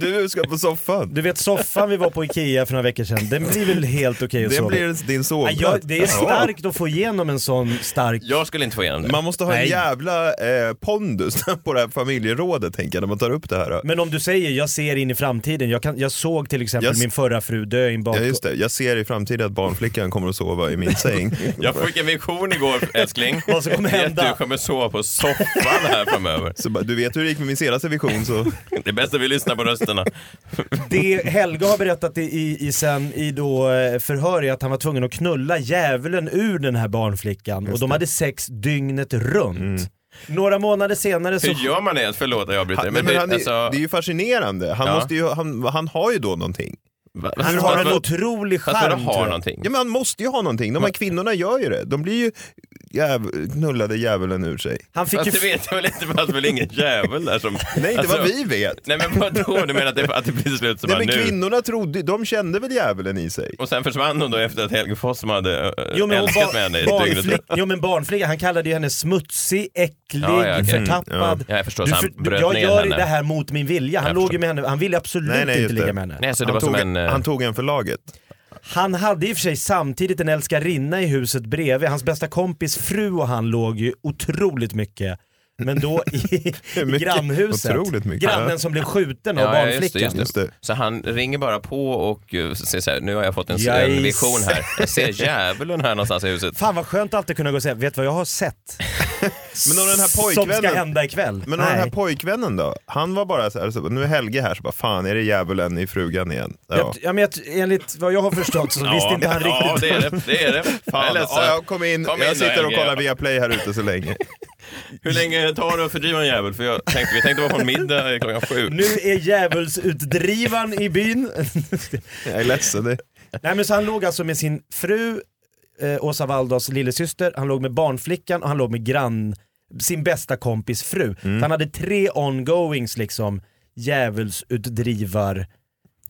[SPEAKER 4] Du, du ska på soffan.
[SPEAKER 3] Du vet soffan vi var på Ikea för några veckor sedan, den blir väl helt okej att
[SPEAKER 4] Det
[SPEAKER 3] sova i?
[SPEAKER 4] blir din
[SPEAKER 3] Nej, jag,
[SPEAKER 4] sovplats.
[SPEAKER 3] Det är starkt att få igenom en sån stark...
[SPEAKER 2] jag skulle inte få igenom det.
[SPEAKER 4] Man måste ha
[SPEAKER 3] Nej.
[SPEAKER 4] en jävla eh, pondus på det här familjerådet tänker jag, när man tar upp det här.
[SPEAKER 3] Men om du säger jag ser in i framtiden, jag, kan, jag såg till exempel
[SPEAKER 4] Jag s-
[SPEAKER 3] min förra fru dö i en
[SPEAKER 4] Ja
[SPEAKER 3] bak...
[SPEAKER 4] just det, jag ser i framtiden att barnflickan kommer att sova i min säng.
[SPEAKER 2] Jag fick en vision igår älskling.
[SPEAKER 3] Vad som kommer
[SPEAKER 2] Det är
[SPEAKER 3] hända.
[SPEAKER 2] Att du kommer sova på soffan här framöver.
[SPEAKER 4] Så bara, du vet hur det gick med min senaste vision så
[SPEAKER 2] Det är bäst att vi lyssnar på rösterna.
[SPEAKER 3] Det Helge har berättat i, i, i, sen, i då eh, förhör är att han var tvungen att knulla djävulen ur den här barnflickan och de hade sex dygnet runt.
[SPEAKER 4] Mm.
[SPEAKER 3] Några månader senare så...
[SPEAKER 2] Hur gör man det? Förlåt att jag avbryter.
[SPEAKER 4] han, men
[SPEAKER 2] det,
[SPEAKER 4] han, är-
[SPEAKER 2] alltså,
[SPEAKER 4] det är ju fascinerande. Han,
[SPEAKER 2] Ja.
[SPEAKER 4] måste ju, han, han har ju då någonting.
[SPEAKER 2] va-
[SPEAKER 3] Han
[SPEAKER 2] fast-
[SPEAKER 3] har en
[SPEAKER 2] fast-
[SPEAKER 3] otrolig
[SPEAKER 2] Fast vadå
[SPEAKER 3] charm tror
[SPEAKER 2] har
[SPEAKER 3] jag.
[SPEAKER 2] någonting?
[SPEAKER 4] Ja men han måste ju ha någonting. De här kvinnorna gör ju det. De blir ju jäv, knullade djävulen ur sig.
[SPEAKER 3] Han fick
[SPEAKER 2] Fast
[SPEAKER 3] ju...
[SPEAKER 2] det vet jag väl inte, det fanns väl ingen jävel där som...
[SPEAKER 4] Nej, inte vad
[SPEAKER 2] Alltså,
[SPEAKER 4] vi vet.
[SPEAKER 2] Nej men vadå, du menar att det, att det blir till slut som
[SPEAKER 4] Nej,
[SPEAKER 2] bara
[SPEAKER 4] men
[SPEAKER 2] nu?
[SPEAKER 4] kvinnorna trodde, de kände väl djävulen i sig?
[SPEAKER 2] Och sen försvann hon då efter att Helge Fossmo hade äh,
[SPEAKER 3] Jo men, hon
[SPEAKER 2] älskat
[SPEAKER 3] bar-
[SPEAKER 2] med henne i dygnet.
[SPEAKER 3] barnflick, jo men barnflicka, han kallade ju henne smutsig, äcklig,
[SPEAKER 2] Ja, ja, okej.
[SPEAKER 3] förtappad.
[SPEAKER 2] Ja, jag förstår,
[SPEAKER 3] Du
[SPEAKER 2] så han
[SPEAKER 3] för- du,
[SPEAKER 2] bröt
[SPEAKER 3] jag
[SPEAKER 2] ner
[SPEAKER 3] gör
[SPEAKER 2] henne.
[SPEAKER 3] det här mot min vilja. Han
[SPEAKER 2] Jag
[SPEAKER 3] låg ju
[SPEAKER 2] förstår.
[SPEAKER 3] med henne, han ville absolut
[SPEAKER 4] Nej, nej,
[SPEAKER 3] inte
[SPEAKER 4] just
[SPEAKER 3] ligga
[SPEAKER 4] det.
[SPEAKER 3] med henne.
[SPEAKER 2] Nej, så det
[SPEAKER 4] Han
[SPEAKER 2] var som
[SPEAKER 4] tog,
[SPEAKER 2] en... eh,
[SPEAKER 4] han tog en för laget.
[SPEAKER 3] Han hade i och för sig samtidigt en älskarinna i huset bredvid. Hans bästa kompis fru och han låg ju otroligt mycket. Men då i, i
[SPEAKER 4] Mycket.
[SPEAKER 3] grannhuset,
[SPEAKER 4] Otroligt mycket.
[SPEAKER 3] grannen som blev skjuten av
[SPEAKER 2] Ja, ja, just det,
[SPEAKER 3] barnflickan.
[SPEAKER 2] just
[SPEAKER 4] Just det.
[SPEAKER 2] Så han ringer bara på och eh, säger så här, nu har jag fått en, en
[SPEAKER 3] Jajs.
[SPEAKER 2] vision här. Jag ser djävulen här någonstans i huset.
[SPEAKER 3] Fan vad skönt att alltid kunna gå och säga, vet du vad jag har sett?
[SPEAKER 4] Men om den här
[SPEAKER 3] Som ska
[SPEAKER 4] pojkvännen-
[SPEAKER 3] hända ikväll.
[SPEAKER 4] Men
[SPEAKER 3] Nej.
[SPEAKER 4] den här pojkvännen då? Han var bara så här, så, nu är Helge här, så bara fan är det djävulen i frugan igen? Ja.
[SPEAKER 3] Jag, ja, men jag, enligt vad jag har förstått så visste inte han riktigt.
[SPEAKER 2] Ja, det är det. det, är det. jag är
[SPEAKER 4] Fan,
[SPEAKER 2] ledsen.
[SPEAKER 4] ja, jag kom in,
[SPEAKER 2] Kom in
[SPEAKER 4] jag
[SPEAKER 2] då,
[SPEAKER 4] sitter och
[SPEAKER 2] Helge.
[SPEAKER 4] kollar via play här ute så länge.
[SPEAKER 2] Hur länge tar det att fördriva en djävul? För jag tänkte, vi tänkte vara på en middag klockan sju.
[SPEAKER 3] Nu är djävulsutdrivaren i byn.
[SPEAKER 4] Jag är ledsen. Det.
[SPEAKER 3] Nej men så han låg alltså med sin fru, eh, Åsa Waldas lillasyster, han låg med barnflickan och han låg med grann, sin bästa kompis fru.
[SPEAKER 4] Mm.
[SPEAKER 3] Så han hade tre ongoings liksom, djävulsutdrivar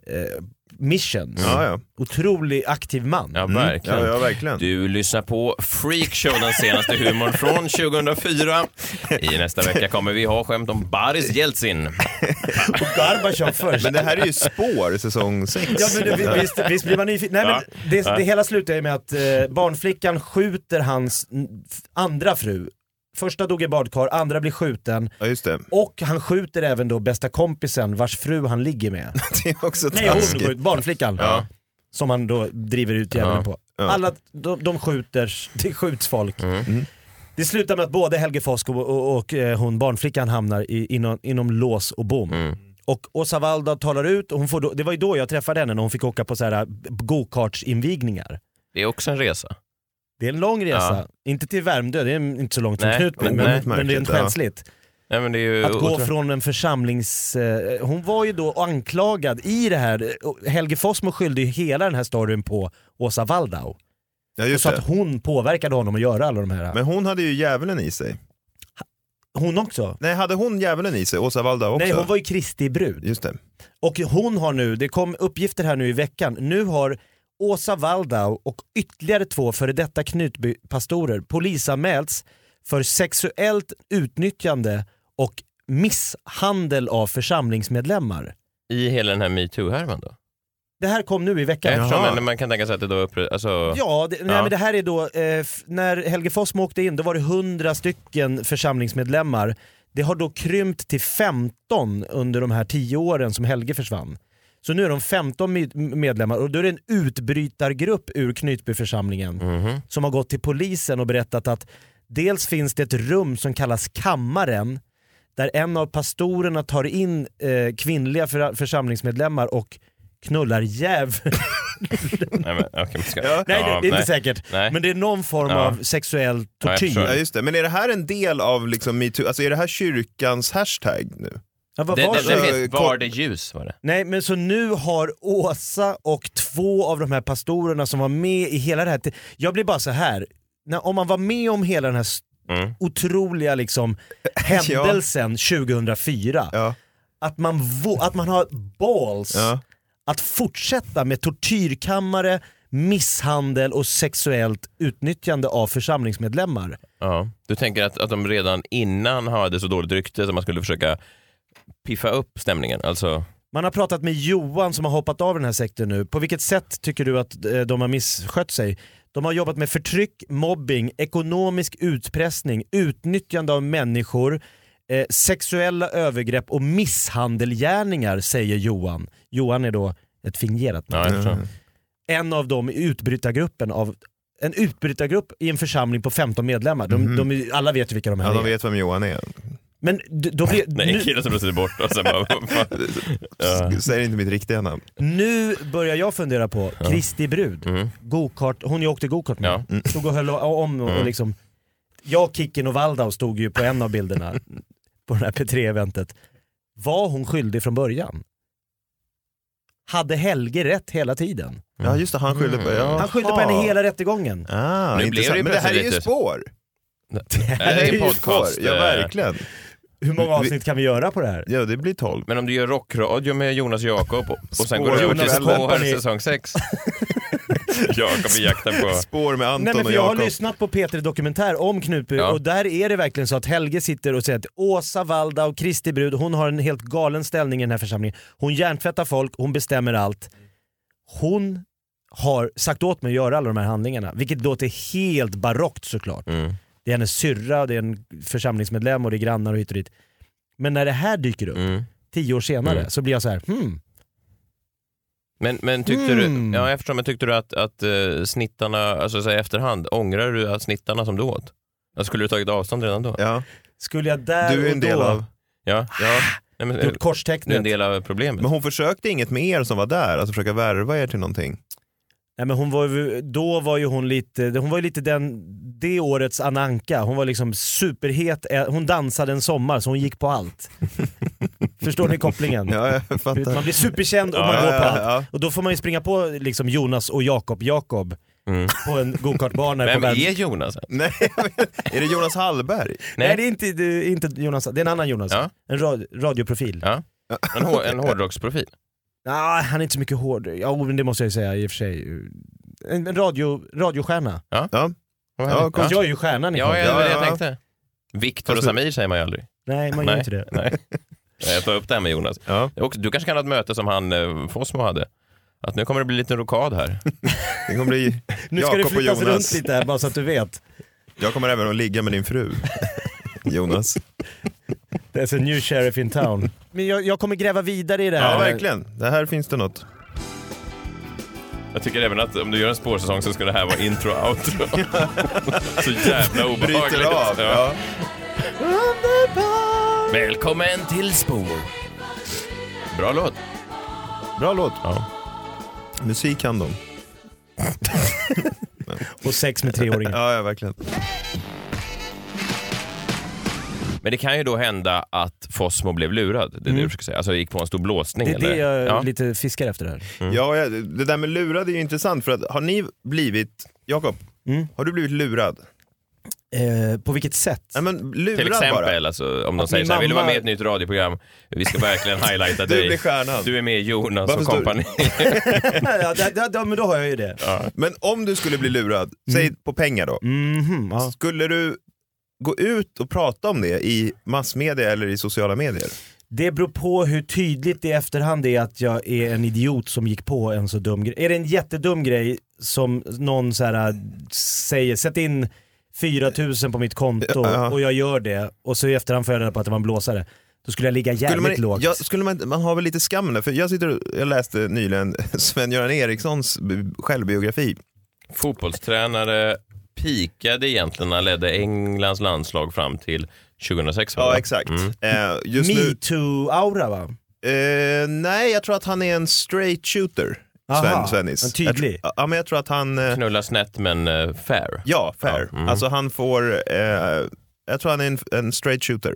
[SPEAKER 3] eh, missions.
[SPEAKER 4] Ja, ja.
[SPEAKER 3] Otrolig aktiv man.
[SPEAKER 2] Ja, verkligen.
[SPEAKER 4] Ja, ja, verkligen.
[SPEAKER 2] Du lyssnar på Freakshow, den senaste humorn från 2004. I nästa vecka kommer vi ha skämt om Boris Jeltsin.
[SPEAKER 3] Och Gorbatjov först.
[SPEAKER 4] Men det här är ju spår, säsong 6.
[SPEAKER 3] Ja, men det, vi- visst, visst blir man nyfiken? Nej, men det, det hela slutar ju med att eh, barnflickan skjuter hans n- f- andra fru. Första dog i badkar, andra blir skjuten
[SPEAKER 4] ja, just det.
[SPEAKER 3] och han skjuter även då bästa kompisen vars fru han ligger med.
[SPEAKER 4] Det är också
[SPEAKER 3] Nej hon
[SPEAKER 4] taskigt.
[SPEAKER 3] går ut, barnflickan.
[SPEAKER 2] Ja.
[SPEAKER 3] Som han då driver ut djävulen på.
[SPEAKER 4] Ja.
[SPEAKER 3] Alla, de, de skjuter, det skjuts folk.
[SPEAKER 2] Mm.
[SPEAKER 3] Det slutar med att både Helge Fosk och, och, och eh, hon barnflickan hamnar i, inom, inom lås och bom.
[SPEAKER 4] Mm.
[SPEAKER 2] Mm.
[SPEAKER 3] Och Åsa Waldau talar ut, och hon får då, det var ju då jag träffade henne när hon fick åka på så här eh, gokartsinvigningar.
[SPEAKER 2] Det är också en resa.
[SPEAKER 3] Det är en lång resa, inte till Värmdö, det är inte så långt från
[SPEAKER 2] Nej,
[SPEAKER 3] Knutby,
[SPEAKER 2] men-
[SPEAKER 3] men,
[SPEAKER 2] nej.
[SPEAKER 3] men, rent
[SPEAKER 4] Märkligt, ja.
[SPEAKER 3] skämsligt.
[SPEAKER 2] Nej, men det är
[SPEAKER 4] Eh,
[SPEAKER 2] ju
[SPEAKER 3] Att gå
[SPEAKER 2] otro-
[SPEAKER 3] från en församlings... Eh, hon var ju då anklagad i det här, och Helge Fossmo skyllde ju hela den här storyn på Åsa Waldau.
[SPEAKER 4] Ja, just
[SPEAKER 3] Så att
[SPEAKER 4] det.
[SPEAKER 3] hon påverkade honom att göra alla de här.
[SPEAKER 4] Men hon hade ju djävulen i sig.
[SPEAKER 3] hon också?
[SPEAKER 4] Nej, hade hon djävulen i sig? Åsa Waldau också?
[SPEAKER 3] Nej, hon var ju Kristi brud.
[SPEAKER 4] Just det.
[SPEAKER 3] Och hon har nu, det kom uppgifter här nu i veckan, nu har Åsa Waldau och ytterligare två före detta Knutbypastorer polisanmälts för sexuellt utnyttjande och misshandel av församlingsmedlemmar.
[SPEAKER 2] I hela den här metoo-härvan då?
[SPEAKER 3] Det här kom nu i veckan.
[SPEAKER 2] Eftersom
[SPEAKER 4] Jaha.
[SPEAKER 2] man, man kan tänka sig att det då uppre- alltså,
[SPEAKER 3] Ja, det, nej,
[SPEAKER 2] Ja.
[SPEAKER 3] Men det här är då, eh, f- när Helge Fossmo åkte in då var det 100 stycken församlingsmedlemmar. Det har då krympt till 15 under de här 10 åren som Helge försvann. Så nu är de 15 med- medlemmar och då är det en utbrytargrupp ur Knutbyförsamlingen
[SPEAKER 2] Mhm.
[SPEAKER 3] som har gått till polisen och berättat att dels finns det ett rum som kallas kammaren där en av pastorerna tar in eh, kvinnliga för, församlingsmedlemmar och knullar djäv.
[SPEAKER 2] nej, men, okej, men ska,
[SPEAKER 3] Nej, det,
[SPEAKER 2] ja,
[SPEAKER 3] det är inte säkert.
[SPEAKER 2] Nej.
[SPEAKER 3] Men det är någon form
[SPEAKER 2] Ja.
[SPEAKER 3] av sexuell
[SPEAKER 2] Ja, jag
[SPEAKER 3] tortyr.
[SPEAKER 2] förstår.
[SPEAKER 4] Ja, just det. Men är det här en del av liksom metoo, alltså är det här kyrkans hashtag nu?
[SPEAKER 3] Ja, vad
[SPEAKER 2] Det,
[SPEAKER 3] var
[SPEAKER 2] det,
[SPEAKER 3] det?
[SPEAKER 2] det
[SPEAKER 4] Varsågod.
[SPEAKER 2] finns, var det ljus var det?
[SPEAKER 3] Nej, men så nu har Åsa och två av de här pastorerna som var med i hela det här... Jag blir bara så här. När, om man var med om hela den här s-
[SPEAKER 2] Mm.
[SPEAKER 3] otroliga liksom, händelsen 2004,
[SPEAKER 4] Ja.
[SPEAKER 3] att, man vå- att man har balls
[SPEAKER 4] Ja.
[SPEAKER 3] att fortsätta med tortyrkammare, misshandel och sexuellt utnyttjande av församlingsmedlemmar.
[SPEAKER 2] Ja. Du tänker att, att de redan innan hade så dåligt rykte så man skulle försöka piffa upp stämningen? Alltså,
[SPEAKER 3] Man har pratat med Johan som har hoppat av den här sektorn nu. På vilket sätt tycker du att eh, de har misskött sig? De har jobbat med förtryck, mobbing, ekonomisk utpressning, utnyttjande av människor, eh, sexuella övergrepp och misshandelgärningar säger Johan. Johan är då ett fingerat namn.
[SPEAKER 2] ja, jag
[SPEAKER 4] Mm.
[SPEAKER 2] förstår.
[SPEAKER 3] En av dem i utbrytargruppen av en utbrytargrupp i en församling på 15 medlemmar. De, de är- alla vet ju vilka de här
[SPEAKER 4] Mhm. Ja, de
[SPEAKER 3] är.
[SPEAKER 4] vet vem Johan är.
[SPEAKER 3] Men d- då blir,
[SPEAKER 2] Nej, en
[SPEAKER 3] nu,
[SPEAKER 2] kille som plötsligt är borta och sen bara... vad fan. Ja.
[SPEAKER 4] Säger inte mitt riktiga namn.
[SPEAKER 3] nu börjar jag fundera på Kristi brud.
[SPEAKER 2] Mm.
[SPEAKER 3] gokart, hon jag åkte gokart med, Mm.
[SPEAKER 2] Ja.
[SPEAKER 3] stod och höll o- om och, och liksom, jag, Kicken och Waldau stod ju på en av bilderna på det här P3-eventet. Var hon skyldig från början? Hade Helge rätt hela tiden?
[SPEAKER 4] Ja, just det. Han skyllde på... Ja.
[SPEAKER 3] Han skyllde på henne hela rättegången.
[SPEAKER 4] Ah,
[SPEAKER 2] Nu blev
[SPEAKER 4] intressant.
[SPEAKER 2] det ju
[SPEAKER 4] Men det här är
[SPEAKER 2] plötsligt
[SPEAKER 4] ju
[SPEAKER 2] lite-
[SPEAKER 4] spår.
[SPEAKER 2] Det här är
[SPEAKER 4] ju
[SPEAKER 2] en podcast.
[SPEAKER 4] spår. Ja,
[SPEAKER 2] eh,
[SPEAKER 4] verkligen.
[SPEAKER 3] Hur många avsnitt kan vi göra på det här?
[SPEAKER 4] Ja, det blir 12.
[SPEAKER 2] Men om du gör rockradio med Jonas Jakob och, och sen går
[SPEAKER 4] Spår.
[SPEAKER 2] du över till
[SPEAKER 4] Jonas
[SPEAKER 2] spår
[SPEAKER 3] Company.
[SPEAKER 2] säsong 6. Jakob i jakten på...
[SPEAKER 4] Spår med Anton
[SPEAKER 3] Nej, men
[SPEAKER 4] och
[SPEAKER 3] för jag har
[SPEAKER 4] Jakob.
[SPEAKER 3] lyssnat på Peter Dokumentär om Knutby
[SPEAKER 2] Ja.
[SPEAKER 3] och där är det verkligen så att Helge sitter och säger att Åsa Valda och Kristi brud, hon har en helt galen ställning i den här församlingen. Hon hjärntvättar folk, hon bestämmer allt. Hon
[SPEAKER 2] Mm,
[SPEAKER 3] har sagt åt mig att göra alla de här handlingarna, vilket låter helt barockt såklart. det är hennes syrra, och det är en församlingsmedlem och det är grannar och hit och dit. Men när det här dyker upp,
[SPEAKER 2] Mm.
[SPEAKER 3] tio år senare,
[SPEAKER 2] Mm.
[SPEAKER 3] så blir jag så här, hmm,
[SPEAKER 2] Men, men tyckte
[SPEAKER 3] Mm.
[SPEAKER 2] du, ja, jag förstår, men tyckte du att, att eh, snittarna, alltså så här, i efterhand, ångrar du att snittarna som du åt? Alltså, skulle du tagit avstånd redan då?
[SPEAKER 4] Ja.
[SPEAKER 3] skulle jag där
[SPEAKER 4] Du är
[SPEAKER 3] och
[SPEAKER 4] en del
[SPEAKER 3] då
[SPEAKER 4] av...
[SPEAKER 2] Ja, ja. Nej, men, eh,
[SPEAKER 3] gjort
[SPEAKER 2] det är en
[SPEAKER 3] korstecknet?
[SPEAKER 2] del av problemet.
[SPEAKER 4] Men hon försökte inget med er som var där, alltså försöka värva er till någonting.
[SPEAKER 3] Nej, men hon var ju, då var ju hon lite, hon var ju lite den, det årets Ananka. Hon var liksom superhet, Eh, hon dansade en sommar så hon gick på allt. Förstår ni kopplingen?
[SPEAKER 4] Ja, jag fattar.
[SPEAKER 3] Man blir superkänd och man
[SPEAKER 4] Ja,
[SPEAKER 3] går på
[SPEAKER 4] ja,
[SPEAKER 3] allt.
[SPEAKER 4] ja.
[SPEAKER 3] Och då får man ju springa på liksom Jonas och Jakob Jakob
[SPEAKER 2] Mm.
[SPEAKER 3] på en gokartbana. på
[SPEAKER 2] Vem är
[SPEAKER 3] världs-
[SPEAKER 2] Jonas?
[SPEAKER 4] Nej, är det Jonas Hallberg?
[SPEAKER 3] Nej det är inte, det är inte Jonas, det är en annan Jonas.
[SPEAKER 2] Ja.
[SPEAKER 3] En ra- radioprofil.
[SPEAKER 2] Ja. En, hår, en hårdrocksprofil?
[SPEAKER 3] Nej, han är inte så mycket hård. Ja, men det måste jag ju säga i och för sig. En en radio, radiostjärna.
[SPEAKER 2] Vad
[SPEAKER 4] Ja,
[SPEAKER 2] härligt.
[SPEAKER 4] kom-
[SPEAKER 3] Fast jag är ju stjärnan i
[SPEAKER 2] Ja,
[SPEAKER 3] podden.
[SPEAKER 2] ja, det var det
[SPEAKER 4] Ja,
[SPEAKER 2] jag
[SPEAKER 4] ja. Alltså-
[SPEAKER 2] tänkte. Viktor och
[SPEAKER 4] Fast-
[SPEAKER 2] Samir säger man ju aldrig.
[SPEAKER 3] Nej, man gör
[SPEAKER 2] Nej.
[SPEAKER 3] inte det.
[SPEAKER 2] Nej. Jag tar upp det här med Jonas.
[SPEAKER 4] Ja.
[SPEAKER 2] Och du kanske kan ha ett möte som han eh, Fossmo hade? Att nu kommer det bli lite rokad här.
[SPEAKER 4] Det kommer bli...
[SPEAKER 3] Nu ska det
[SPEAKER 4] Jakob och
[SPEAKER 3] flyttas runt
[SPEAKER 4] Jonas.
[SPEAKER 3] lite här bara så att du vet.
[SPEAKER 4] Jag kommer även att ligga med din fru. Jonas.
[SPEAKER 3] There's a new sheriff in town. Men jag, jag kommer gräva vidare i det här.
[SPEAKER 4] Ja, verkligen. Det här finns det något.
[SPEAKER 2] Jag tycker även att om du gör en spårsäsong så ska det här vara intro och outro. så jävla obehagligt.
[SPEAKER 4] Bryter av.
[SPEAKER 2] Ja.
[SPEAKER 4] Ja.
[SPEAKER 2] Välkommen till Spår. Bra låt.
[SPEAKER 4] Bra låt.
[SPEAKER 2] Ja.
[SPEAKER 4] Musik kan de.
[SPEAKER 3] Och sex med treåringar.
[SPEAKER 4] Ja, ja verkligen.
[SPEAKER 2] Men det kan ju då hända att Fossmo blev lurad. Det är det du försöker säga. Alltså gick på en stor blåsning.
[SPEAKER 3] Det är det
[SPEAKER 2] eller?
[SPEAKER 3] jag
[SPEAKER 2] ja.
[SPEAKER 3] lite fiskar efter här.
[SPEAKER 2] Mm.
[SPEAKER 4] Ja, ja, det där med lurad är ju intressant för att har ni blivit, Jakob,
[SPEAKER 3] Mm.
[SPEAKER 4] har du blivit lurad?
[SPEAKER 3] Eh, på vilket sätt?
[SPEAKER 4] Nej men lurad
[SPEAKER 2] Till
[SPEAKER 4] bara.
[SPEAKER 2] exempel alltså, om de
[SPEAKER 3] Att
[SPEAKER 2] säger
[SPEAKER 3] min
[SPEAKER 2] så här, vill du vara
[SPEAKER 3] mamma-
[SPEAKER 2] med i ett nytt radioprogram? Vi ska verkligen highlighta
[SPEAKER 4] Du
[SPEAKER 2] dig.
[SPEAKER 4] blir stjärnan.
[SPEAKER 2] Du är med i Jonas
[SPEAKER 4] Varför
[SPEAKER 2] och
[SPEAKER 4] står-
[SPEAKER 2] kompani.
[SPEAKER 3] ja, det- det- det- men då har jag ju det.
[SPEAKER 4] Men om du skulle bli lurad,
[SPEAKER 2] Mm.
[SPEAKER 4] säg på pengar då.
[SPEAKER 3] Mhm, ja.
[SPEAKER 4] Skulle du gå ut och prata om det i massmedia eller i sociala medier?
[SPEAKER 3] Det beror på hur tydligt det i efterhand är att jag är en idiot som gick på en så dum grej. Är det en jättedum grej som någon så här äh, säger, sätt in 4000 på mitt konto
[SPEAKER 4] Ja.
[SPEAKER 3] och jag gör det och så i efterhand får jag reda på att det var en blåsare. Då skulle jag ligga
[SPEAKER 4] Skulle
[SPEAKER 3] jävligt
[SPEAKER 4] man,
[SPEAKER 3] lågt.
[SPEAKER 4] ja, skulle man, man har väl lite skam där, för jag, sitter, och- jag läste nyligen Sven-Göran Erikssons b- självbiografi.
[SPEAKER 2] Fotbollstränare pikade egentligen när han ledde Englands landslag fram till 2006. va?
[SPEAKER 4] Ja, exakt.
[SPEAKER 2] Mm.
[SPEAKER 4] Eh, just nu,
[SPEAKER 3] Metoo-aura va?
[SPEAKER 4] eh, nej, jag tror att han är en straight shooter,
[SPEAKER 3] Aha,
[SPEAKER 4] Sven, Svennis.
[SPEAKER 3] en tydlig.
[SPEAKER 4] Jag, tr- ja, men jag tror att han... Eh,
[SPEAKER 2] Knulla snett men eh, fair.
[SPEAKER 4] Ja, fair.
[SPEAKER 2] Ja, mm.
[SPEAKER 4] Alltså han får, eh, jag tror han är en, en straight shooter.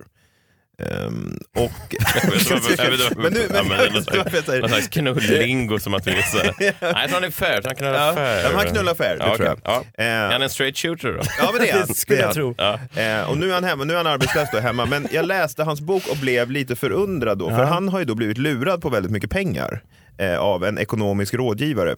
[SPEAKER 4] Ehm, och...
[SPEAKER 2] Jag vet inte varför-
[SPEAKER 4] men nu, men,
[SPEAKER 2] Ja,
[SPEAKER 4] jag vet
[SPEAKER 2] någon
[SPEAKER 4] inte varför jag
[SPEAKER 2] slags-
[SPEAKER 4] säger
[SPEAKER 2] Någon slags knullingo som att vi är så här. Nej, jag tror han är fair. Han knullar
[SPEAKER 4] Ja,
[SPEAKER 2] fair.
[SPEAKER 4] ja, men han knullar fair, det
[SPEAKER 2] Ja,
[SPEAKER 4] tror jag.
[SPEAKER 2] okej. Ja. Är han
[SPEAKER 4] Eh,
[SPEAKER 2] en straight shooter då?
[SPEAKER 4] Ja men det är han.
[SPEAKER 3] Det skulle
[SPEAKER 4] Det är
[SPEAKER 3] jag tro.
[SPEAKER 2] Ja.
[SPEAKER 4] han. Eh, och nu är han hemma, nu är han arbetslös då hemma. Men jag läste hans bok och blev lite förundrad då. För han har ju då blivit lurad på väldigt mycket pengar eh, av en ekonomisk rådgivare.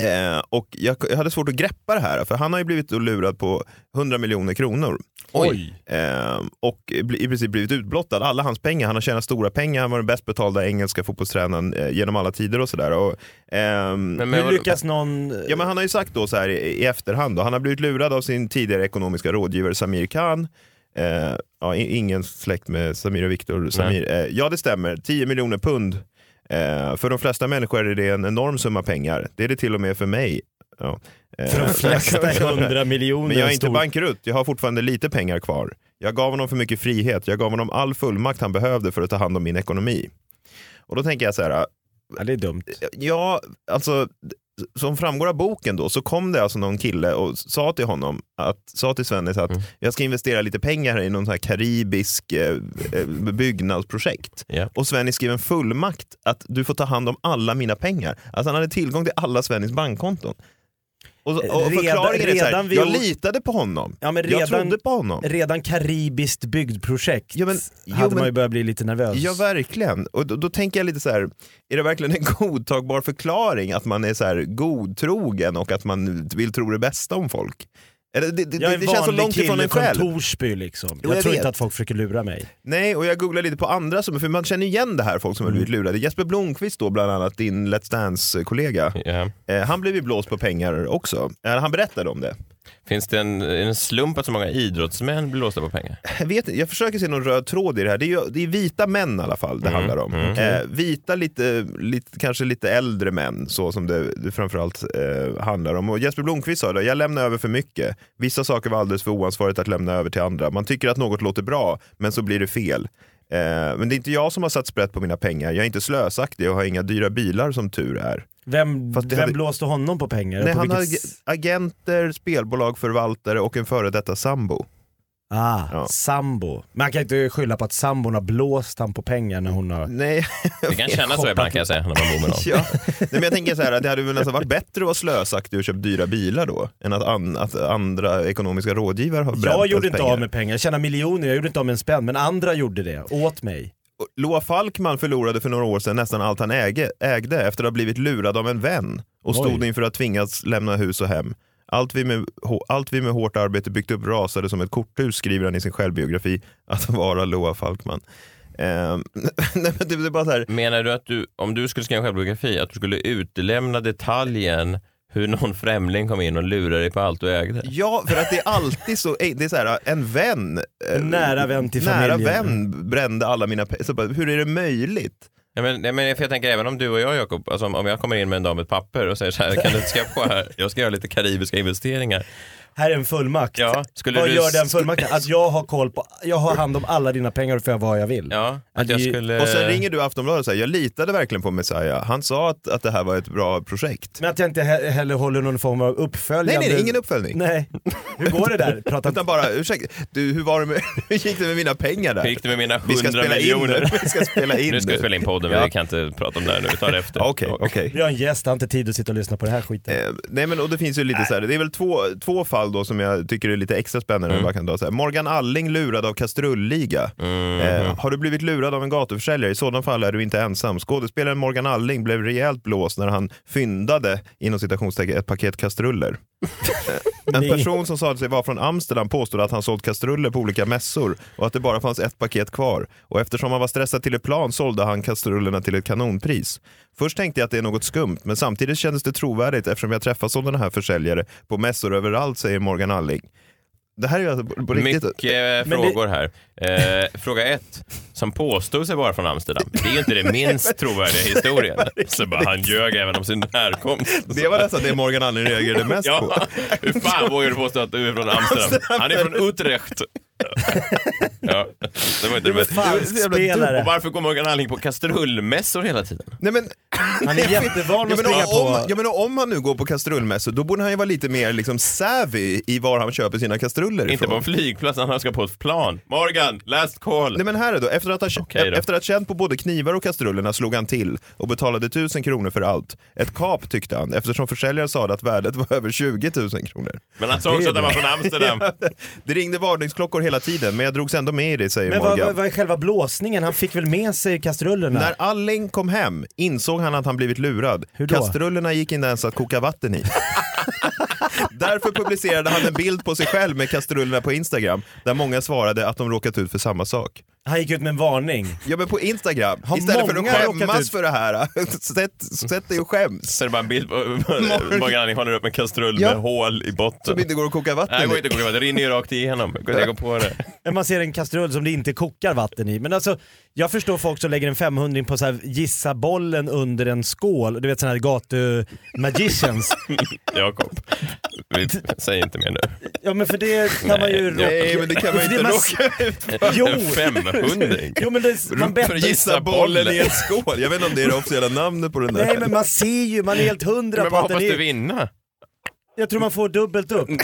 [SPEAKER 4] Eh, och jag, jag hade svårt att greppa det här, för han har ju blivit då lurad på 100 miljoner kronor.
[SPEAKER 2] Oj.
[SPEAKER 4] Ehm, och bli- i princip blivit utblottad. Alla hans pengar, han har tjänat stora pengar, han var den bäst betalda engelska fotbollstränaren eh, genom alla tider och sådär. Och, ehm,
[SPEAKER 2] Men,
[SPEAKER 3] Hur
[SPEAKER 2] men,
[SPEAKER 3] lyckas någon...
[SPEAKER 4] Ja, men han har ju sagt då så här i, i efterhand, då, han har blivit lurad av sin tidigare ekonomiska rådgivare Samir Khan. Eh, ja, i- ingen släkt med Samir och Viktor. Samir. Eh, ja, det stämmer. 10 miljoner pund. Eh, för de flesta människor är det en enorm summa pengar. Det är det till och med för mig. Ja. Eh,
[SPEAKER 3] För de flesta är 100 miljoner
[SPEAKER 4] men jag är inte
[SPEAKER 3] stor.
[SPEAKER 4] bankrutt, jag har fortfarande lite pengar kvar. Jag gav honom för mycket frihet, jag gav honom all fullmakt han behövde för att ta hand om min ekonomi. Och då tänker jag så här,
[SPEAKER 3] Ja, det är dumt.
[SPEAKER 4] ja, alltså som framgår av boken då så kom det alltså någon kille och sa till honom, att, sa till Svennis att
[SPEAKER 3] Mm.
[SPEAKER 4] jag ska investera lite pengar här i någon sån här karibisk eh, eh, byggnadsprojekt.
[SPEAKER 2] Ja.
[SPEAKER 4] Och Svennis skrev en fullmakt att du får ta hand om alla mina pengar. Alltså han hade tillgång till alla Svennis bankkonton. Och, och
[SPEAKER 3] Redan-
[SPEAKER 4] förklaringen är så
[SPEAKER 3] redan
[SPEAKER 4] här,
[SPEAKER 3] vid-
[SPEAKER 4] jag litade på honom.
[SPEAKER 3] Ja, men redan-
[SPEAKER 4] jag trodde på honom.
[SPEAKER 3] Redan karibiskt byggprojekt
[SPEAKER 4] Ja, men- jo,
[SPEAKER 3] hade man
[SPEAKER 4] men-
[SPEAKER 3] ju börjat bli lite nervös.
[SPEAKER 4] Ja, verkligen. Och då, då tänker jag lite så här, är det verkligen en godtagbar förklaring att man är så här godtrogen och att man vill tro det bästa om folk? Eller, det det,
[SPEAKER 3] jag är
[SPEAKER 4] det,
[SPEAKER 3] en
[SPEAKER 4] det känns så
[SPEAKER 3] vanlig
[SPEAKER 4] långt ifrån
[SPEAKER 3] kille
[SPEAKER 4] en
[SPEAKER 3] från
[SPEAKER 4] själv.
[SPEAKER 3] Torsby liksom.
[SPEAKER 4] Jo,
[SPEAKER 3] jag,
[SPEAKER 4] jag
[SPEAKER 3] tror
[SPEAKER 4] vet.
[SPEAKER 3] inte att folk försöker lura mig.
[SPEAKER 4] Nej, och jag googlar lite på andra, som, för man känner igen det här, folk som har blivit
[SPEAKER 3] Mm.
[SPEAKER 4] lurade. Jesper Blomqvist då, bland annat, din
[SPEAKER 3] Mm.
[SPEAKER 4] Let's Dance-kollega.
[SPEAKER 2] ja.
[SPEAKER 4] Eh, han blev ju blåst på pengar också. Eh, han berättade om det.
[SPEAKER 2] Finns det en, är det en slump att så många idrottsmän blir låsta på pengar?
[SPEAKER 4] Jag, vet, inte, jag försöker se någon röd tråd i det här. Det är, ju, det är vita män i alla fall det
[SPEAKER 3] Mm,
[SPEAKER 4] handlar om. Eh, vita, lite, lite, kanske lite äldre män, så som det, det framförallt eh, handlar om. Och Jesper Blomqvist sa det, jag lämnar över för mycket. Vissa saker var alldeles för oansvarigt att lämna över till andra. Man tycker att något låter bra, men så blir det fel. Eh, men det är inte jag som har satt sprätt på mina pengar. Jag är inte slösaktig och har inga dyra bilar som tur är.
[SPEAKER 3] Vem,
[SPEAKER 4] Fast det
[SPEAKER 3] vem
[SPEAKER 4] hade-
[SPEAKER 3] blåste honom på pengar?
[SPEAKER 4] Nej,
[SPEAKER 3] Eh, på
[SPEAKER 4] han har
[SPEAKER 3] vilket s-
[SPEAKER 4] ag- agenter, spelbolag, förvaltare och en före detta sambo.
[SPEAKER 3] Ah,
[SPEAKER 4] Ja.
[SPEAKER 3] sambo. Men han kan inte skylla på att sambon har blåst han på pengar när hon har...
[SPEAKER 4] Nej,
[SPEAKER 2] Det kan kännas så ibland kan jag säga när man bor med någon.
[SPEAKER 4] Ja. Nej, men jag tänker så här, att det hade väl nästan varit bättre att vara slösaktig och köpa dyra bilar då, än att, an, att andra ekonomiska rådgivare har bränt
[SPEAKER 3] Jag
[SPEAKER 4] ens
[SPEAKER 3] gjorde inte
[SPEAKER 4] pengar.
[SPEAKER 3] av med pengar, jag tjänade miljoner, jag gjorde inte av med en spänn. Men andra gjorde det, åt mig.
[SPEAKER 4] Och Loa Falkman förlorade för några år sedan nästan allt han äge, ägde efter att ha blivit lurad av en vän och stod
[SPEAKER 3] Oj.
[SPEAKER 4] inför att tvingas lämna hus och hem. Allt vi, med, hå- allt vi med hårt arbete byggt upp rasade som ett korthus, skriver han i sin självbiografi, att vara Loa Falkman. Ehm, nej, men det, det är bara så här,
[SPEAKER 2] Menar du att du, om du skulle skriva en självbiografi, att du skulle utelämna detaljen hur någon främling kom in och lurade dig på allt du ägde?
[SPEAKER 4] Ja, för att det är alltid så, det är så här, en vän, eh,
[SPEAKER 3] Nära vän till
[SPEAKER 4] nära
[SPEAKER 3] familjen.
[SPEAKER 4] vän brände alla mina pengar. Hur är det möjligt?
[SPEAKER 2] Ja, men, ja, men för jag tänker även om du och jag Jakob, alltså om, om jag kommer in med en dam med ett papper och säger så här, kan du inte skriva på här, jag ska göra lite karibiska investeringar.
[SPEAKER 3] Här är en fullmakt.
[SPEAKER 2] Ja, skulle
[SPEAKER 3] vad
[SPEAKER 2] du-
[SPEAKER 3] gör den fullmakten? Att jag har koll på, jag har hand om alla dina pengar och får jag vad jag vill.
[SPEAKER 2] Ja, att jag skulle...
[SPEAKER 4] Och
[SPEAKER 3] Eh.
[SPEAKER 4] sen ringer du Aftonbladet och säger, jag litade verkligen på Messiah. Han sa att, att det här var ett bra projekt.
[SPEAKER 3] Men att jag inte he- heller håller någon form av uppföljande...
[SPEAKER 4] Nej, nej, det är ingen uppföljning.
[SPEAKER 3] Nej. Hur går det där? Prata
[SPEAKER 4] Utan bara, ursäkta, du, hur, var det med, hur gick det med mina pengar där?
[SPEAKER 2] Hur gick det med mina
[SPEAKER 4] vi ska
[SPEAKER 2] 100
[SPEAKER 4] spela in nu.
[SPEAKER 2] miljoner?
[SPEAKER 4] Vi ska spela in
[SPEAKER 2] Nu ska vi spela in podden, men
[SPEAKER 4] Ja.
[SPEAKER 2] vi kan inte prata om det här nu, vi tar det efter.
[SPEAKER 4] Okej, okej.
[SPEAKER 3] Vi har en gäst, jag har inte tid att sitta och lyssna på det här skiten.
[SPEAKER 4] Eh, nej men och det finns ju lite så här, det är väl två, två fall då som jag tycker är lite extra spännande. Man kan ta så här. Morgan Alling lurad av kastrulliga. Eh, har du blivit lurad av en gatuförsäljare? I sådana fall är du inte ensam. Skådespelaren Morgan Alling blev rejält blåst när han fyndade, inom citationstecken, ett paket kastruller. Eh, en
[SPEAKER 3] Nej.
[SPEAKER 4] person som sade sig vara från Amsterdam påstod att han sålt kastruller på olika mässor och att det bara fanns ett paket kvar. Och eftersom han var stressad till ett plan sålde han kastrullerna till ett kanonpris. Först tänkte jag att det är något skumt, men samtidigt kändes det trovärdigt eftersom jag träffat sådana här försäljare på mässor överallt, säger Morgan Alling. Det här är ju alltså på, på riktigt.
[SPEAKER 2] Mycket eh,
[SPEAKER 3] Men det-
[SPEAKER 2] frågor här. Eh, fråga ett, som påstod sig vara från Amsterdam. Det är ju inte det minst trovärdiga historien. Så bara, han ljög även om sin härkomst.
[SPEAKER 4] Det var nästan det Morgan Alling reagerade mest på.
[SPEAKER 2] Ja, hur fan vågar du påstå att du är från Amsterdam? Han är från Utrecht. Ja, det var inte det bästa. Och
[SPEAKER 3] Falskspelare.
[SPEAKER 2] varför går Morgan Alling på kastrullmässor hela tiden?
[SPEAKER 4] Nej, men,
[SPEAKER 3] Han är jättevan
[SPEAKER 4] ja,
[SPEAKER 3] att
[SPEAKER 4] men
[SPEAKER 3] springa
[SPEAKER 4] om,
[SPEAKER 3] på...
[SPEAKER 4] ja, men om han nu går på kastrullmässor, då borde han ju vara lite mer liksom savvy i var han köper sina kastruller
[SPEAKER 2] Inte på
[SPEAKER 4] ifrån.
[SPEAKER 2] en flygplats, han ska på ett plan. Morgan, last call.
[SPEAKER 4] Nej men här är då, efter att, ha,
[SPEAKER 2] Okej då.
[SPEAKER 4] efter att ha känt på både knivar och kastrullerna slog han till och betalade 1000 kronor för allt. Ett kap tyckte han, eftersom försäljaren sa att värdet var över 20 000 kronor.
[SPEAKER 2] Men han sa också att han var från Amsterdam.
[SPEAKER 4] Det ringde varningsklockor hela tiden, men jag drogs ändå med i det, säger
[SPEAKER 3] Men vad,
[SPEAKER 4] Morgan.
[SPEAKER 3] vad, vad är själva blåsningen? Han fick väl med sig kastrullerna?
[SPEAKER 4] När Alling kom hem insåg han att han blivit lurad.
[SPEAKER 3] Hur då?
[SPEAKER 4] Kastrullerna gick inte ens att koka vatten i. Därför publicerade han en bild på sig själv med kastrullerna på Instagram, där många svarade att de råkat ut för samma sak.
[SPEAKER 3] Han gick ut med en varning.
[SPEAKER 4] Ja men på Instagram,
[SPEAKER 3] Har
[SPEAKER 4] istället för att
[SPEAKER 3] många råkat
[SPEAKER 4] skämmas
[SPEAKER 3] ut?
[SPEAKER 4] för det här, sätt, sätt dig och skäms.
[SPEAKER 2] Så det är bara en bild på Morgan Alling håller upp en kastrull
[SPEAKER 4] Ja.
[SPEAKER 2] med hål i botten.
[SPEAKER 4] Som inte går att koka
[SPEAKER 2] Nej, det
[SPEAKER 4] vatten
[SPEAKER 2] går
[SPEAKER 4] i.
[SPEAKER 2] inte att koka vatten. Det rinner ju rakt igenom. Jag går på det.
[SPEAKER 3] När man ser en kastrull som det inte kokar vatten i. Men alltså, jag förstår folk som lägger en 500 på så här, gissa bollen under en skål. Du vet sådana här gatu-magicians.
[SPEAKER 2] Jakob, vi- säg inte mer nu.
[SPEAKER 3] ja men för det kan man ju...
[SPEAKER 2] Nej,
[SPEAKER 4] Nej men det kan man
[SPEAKER 3] För
[SPEAKER 4] ju
[SPEAKER 3] det
[SPEAKER 4] inte
[SPEAKER 3] man-
[SPEAKER 4] råka ut för.
[SPEAKER 3] Jo!
[SPEAKER 2] En 500
[SPEAKER 3] Jo men det,
[SPEAKER 2] För
[SPEAKER 3] man bettar
[SPEAKER 2] gissa bollen
[SPEAKER 4] i en skål. Jag vet inte om det är det officiella namnet på den där.
[SPEAKER 3] Nej men man ser ju, man är helt hundra
[SPEAKER 2] Men
[SPEAKER 3] på
[SPEAKER 2] vad
[SPEAKER 3] att
[SPEAKER 2] hoppas
[SPEAKER 3] den
[SPEAKER 2] du
[SPEAKER 3] är...
[SPEAKER 2] vinna?
[SPEAKER 3] Jag tror man får dubbelt upp.
[SPEAKER 4] Mm.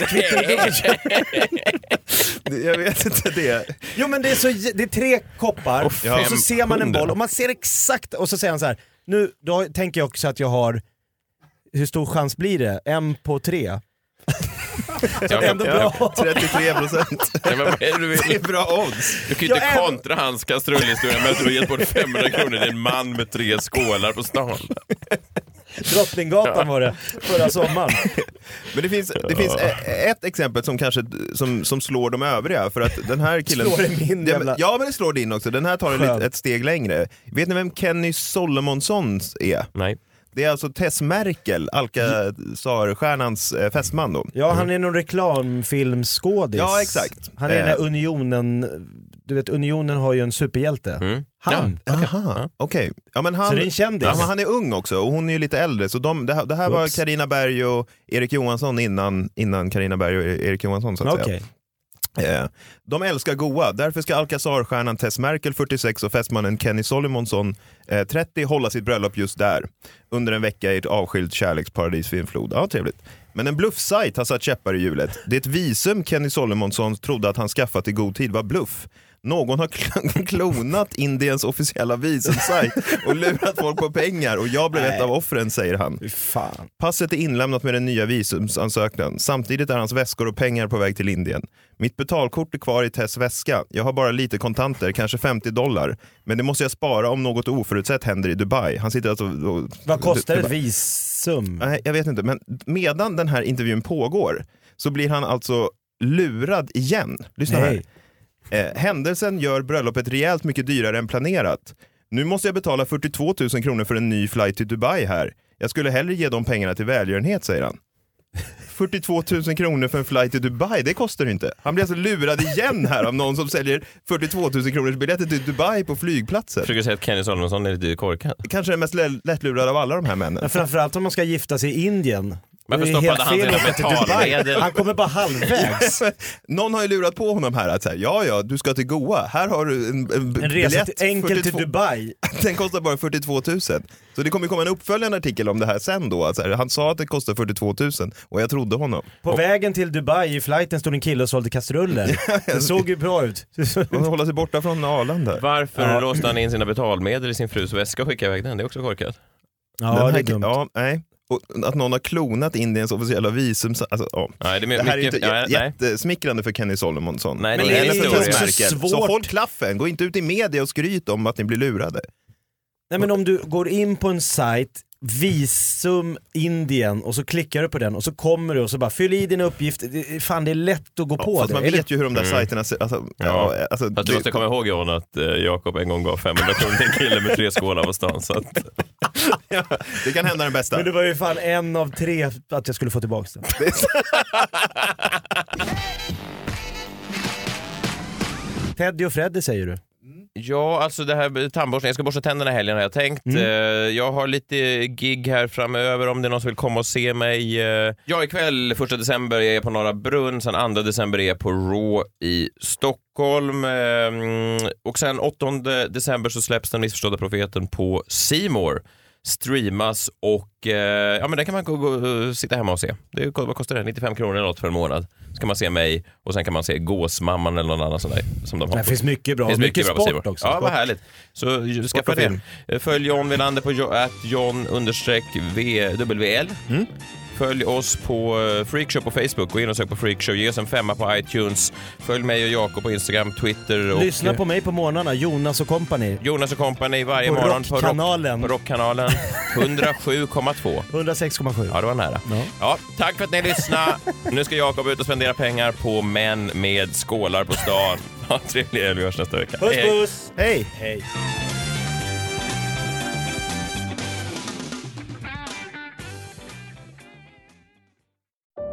[SPEAKER 4] Jag vet inte det.
[SPEAKER 3] Jo men det är, så, j- det är tre koppar och
[SPEAKER 2] fem
[SPEAKER 3] så ser man en
[SPEAKER 2] hundra.
[SPEAKER 3] boll och man ser exakt och så säger han så här. nu då tänker jag också att jag har, hur stor chans blir det? En på tre?
[SPEAKER 2] Jakob,
[SPEAKER 3] Ändå bra.
[SPEAKER 4] 33 procent.
[SPEAKER 2] ja, men vad är det du
[SPEAKER 4] Det
[SPEAKER 2] vill?
[SPEAKER 4] är bra odds.
[SPEAKER 2] Du kan ju
[SPEAKER 3] Jag
[SPEAKER 2] inte
[SPEAKER 3] är-
[SPEAKER 2] kontra hans kastrullhistoria med att du har gett bort 500 kronor till en man med tre skålar på stan.
[SPEAKER 3] Drottninggatan var det förra sommaren.
[SPEAKER 4] Men det finns, det finns e- ett exempel som kanske som, som slår de övriga för att den här killen...
[SPEAKER 3] Slår det min
[SPEAKER 4] ja,
[SPEAKER 3] jävla-
[SPEAKER 4] men, ja men det slår din också, den här tar det
[SPEAKER 3] Skönt.
[SPEAKER 4] lite, ett steg längre. Vet ni vem Kenny Solomonsson är?
[SPEAKER 2] Nej.
[SPEAKER 4] Det är alltså Tess Merkel, Alcazar-stjärnans eh, fästman då.
[SPEAKER 3] Ja, han är någon reklamfilmsskådis.
[SPEAKER 4] Ja, exakt.
[SPEAKER 3] Han är den där
[SPEAKER 4] Eh.
[SPEAKER 3] Unionen, du vet Unionen har ju en superhjälte.
[SPEAKER 4] Mm.
[SPEAKER 3] Han.
[SPEAKER 4] Aha, okej. Ja, men han,
[SPEAKER 3] Så det är en kändis.
[SPEAKER 4] Ja, men han är ung också och hon är ju lite äldre. Så de, det här, det här var
[SPEAKER 3] Oops.
[SPEAKER 4] Karina Berg och Erik Johansson innan, innan Carina Berg och E- Erik Johansson så att
[SPEAKER 3] Okej.
[SPEAKER 4] säga. Eh, de älskar goa, därför ska Alcazar-stjärnan Tess Merkel 46 och fästmannen Kenny Solomonsson eh, 30 hålla sitt bröllop just där. Under en vecka i ett avskilt kärleksparadis vid en flod. Ja, trevligt. Men en bluffsajt har satt käppar i hjulet. Det visum Kenny Solomonsson trodde att han skaffat i god tid var bluff. Någon har kl- klonat Indiens officiella visumsajt och lurat folk på pengar och jag blev ett av offren, säger han.
[SPEAKER 3] Fy Fan.
[SPEAKER 4] Passet är inlämnat med den nya visumsansökan. Samtidigt är hans väskor och pengar på väg till Indien. Mitt betalkort är kvar i Tess väska. Jag har bara lite kontanter, kanske 50 dollar. Men det måste jag spara om något oförutsett händer i Dubai. Han sitter alltså och...
[SPEAKER 3] Vad kostar ett
[SPEAKER 4] Dubai.
[SPEAKER 3] visum?
[SPEAKER 4] Nej, jag vet inte. Men medan den här intervjun pågår så blir han alltså lurad igen. Lyssna här.
[SPEAKER 3] Nej.
[SPEAKER 4] Eh, händelsen gör bröllopet rejält mycket dyrare än planerat. Nu måste jag betala 42 000 kronor för en ny flight till Dubai här. Jag skulle hellre ge de pengarna till välgörenhet, säger han. 42 000 kronor för en flight till Dubai, det kostar ju inte. Han blir alltså lurad igen här av någon som säljer 42 000 kronors biljetter till Dubai på flygplatsen.
[SPEAKER 2] Försöker säga att Kenny Salomonsson är lite korkad.
[SPEAKER 4] Kanske den mest lä- lättlurade av alla de här
[SPEAKER 3] Men
[SPEAKER 4] männen.
[SPEAKER 3] framförallt om man ska gifta sig i Indien.
[SPEAKER 2] Varför
[SPEAKER 3] Det är helt
[SPEAKER 2] stoppade han
[SPEAKER 3] fel
[SPEAKER 2] sina
[SPEAKER 3] att åka till
[SPEAKER 2] betalmedel?
[SPEAKER 3] Dubai. Han kommer bara halvvägs.
[SPEAKER 4] Någon har ju lurat på honom här att säga, ja ja, du ska till Goa, här har du en, en, b-
[SPEAKER 3] En resa
[SPEAKER 4] biljett,
[SPEAKER 3] till, enkelt till
[SPEAKER 4] 42
[SPEAKER 3] Dubai.
[SPEAKER 4] Den kostar bara 42 000. Så det kommer komma en uppföljande artikel om det här sen då. Alltså, han sa att det kostar 42 000 och jag trodde honom.
[SPEAKER 3] På vägen till Dubai i flighten stod en kille och sålde kastruller. Det såg ju bra ut.
[SPEAKER 4] Man hålla sig borta från Arlanda.
[SPEAKER 2] Varför låste han in sina betalmedel i sin frus väska och skickade iväg den? Det är också korkat.
[SPEAKER 3] Ja,
[SPEAKER 4] Den
[SPEAKER 3] det är
[SPEAKER 4] här-
[SPEAKER 3] dumt.
[SPEAKER 4] ja, nej. Och att någon har klonat Indiens officiella visum. så- Alltså, ja.
[SPEAKER 2] Nej, det är
[SPEAKER 4] Det här är
[SPEAKER 2] mycket...
[SPEAKER 4] inte
[SPEAKER 2] ja,
[SPEAKER 4] jä-
[SPEAKER 2] nej.
[SPEAKER 4] jättesmickrande för Kenny Solomonsson.
[SPEAKER 2] Nej, det
[SPEAKER 4] Och
[SPEAKER 2] är
[SPEAKER 4] eller
[SPEAKER 2] det
[SPEAKER 4] för
[SPEAKER 2] inte.
[SPEAKER 4] Tess
[SPEAKER 2] Det är
[SPEAKER 3] också
[SPEAKER 4] Merkel. Så
[SPEAKER 3] svårt.
[SPEAKER 4] håll klaffen, gå inte ut i media och skryt om att ni blir lurade.
[SPEAKER 3] Nej men om du går in på en sajt, visum Indien och så klickar du på den och så kommer du och så bara fyll i dina uppgifter. Det- Fan det är lätt att gå på
[SPEAKER 4] Fast
[SPEAKER 3] det.
[SPEAKER 4] man
[SPEAKER 3] Eller-
[SPEAKER 4] vet ju hur de där sajterna ser alltså,
[SPEAKER 2] Mm. Ja.
[SPEAKER 4] ja, alltså,
[SPEAKER 2] Fast du måste komma ihåg Johan att eh, Jakob en gång gav 500 kronor till en kille med tre skålar på stan. Så att,
[SPEAKER 4] det kan hända den bästa.
[SPEAKER 3] Men det var ju fan en av tre att jag skulle få tillbaka den. Teddy och Freddy säger du.
[SPEAKER 2] ja, alltså det här med tandborstning. Jag ska borsta tänderna i helgen har jag tänkt.
[SPEAKER 3] Mm.
[SPEAKER 2] Eh, Jag har lite gig här framöver om det är någon som vill komma och se mig. Eh, Ja, ikväll 1 december är jag på Norra Brunn, sen 2 december är jag på Raw i Stockholm. Eh, mm, Och sen 8 december så släpps den missförstådda profeten på Seymour streamas och eh, ja men den kan man gå, gå, sitta hemma och se. Det, vad kostar det? 95 kronor eller något för en månad. Så kan man se mig och sen kan man se Gåsmamman eller någon annan sån där som de har.
[SPEAKER 3] Det finns mycket bra,
[SPEAKER 2] Det finns mycket, bra på
[SPEAKER 3] sport
[SPEAKER 2] Simon.
[SPEAKER 3] också.
[SPEAKER 2] Ja,
[SPEAKER 3] Sport.
[SPEAKER 2] vad härligt. Så ju- skaffa
[SPEAKER 4] och
[SPEAKER 2] det.
[SPEAKER 4] film.
[SPEAKER 2] Eh, Följ John Wilander på jo- att John understreck V- WL.
[SPEAKER 3] Mm.
[SPEAKER 2] Följ oss på eh, Freakshow på Facebook. Gå in och sök på Freakshow. Ge oss en femma på iTunes. Följ mig och Jakob på Instagram, Twitter och
[SPEAKER 3] Lyssna på mig på morgnarna, Jonas och kompani.
[SPEAKER 2] Jonas och Company varje
[SPEAKER 3] På
[SPEAKER 2] morgon på,
[SPEAKER 3] Rockkanalen.
[SPEAKER 2] på Rockkanalen 107,2.
[SPEAKER 3] 106,7.
[SPEAKER 2] Ja, det var nära.
[SPEAKER 3] Ja.
[SPEAKER 2] Ja, tack för att ni lyssnade. Nu ska Jakob ut och spendera pengar på män med skålar på stan. Ha en trevlig helg. Vi hörs nästa vecka.
[SPEAKER 3] Puss
[SPEAKER 2] Hej, hej.
[SPEAKER 3] puss!
[SPEAKER 4] Hej!
[SPEAKER 3] Hej.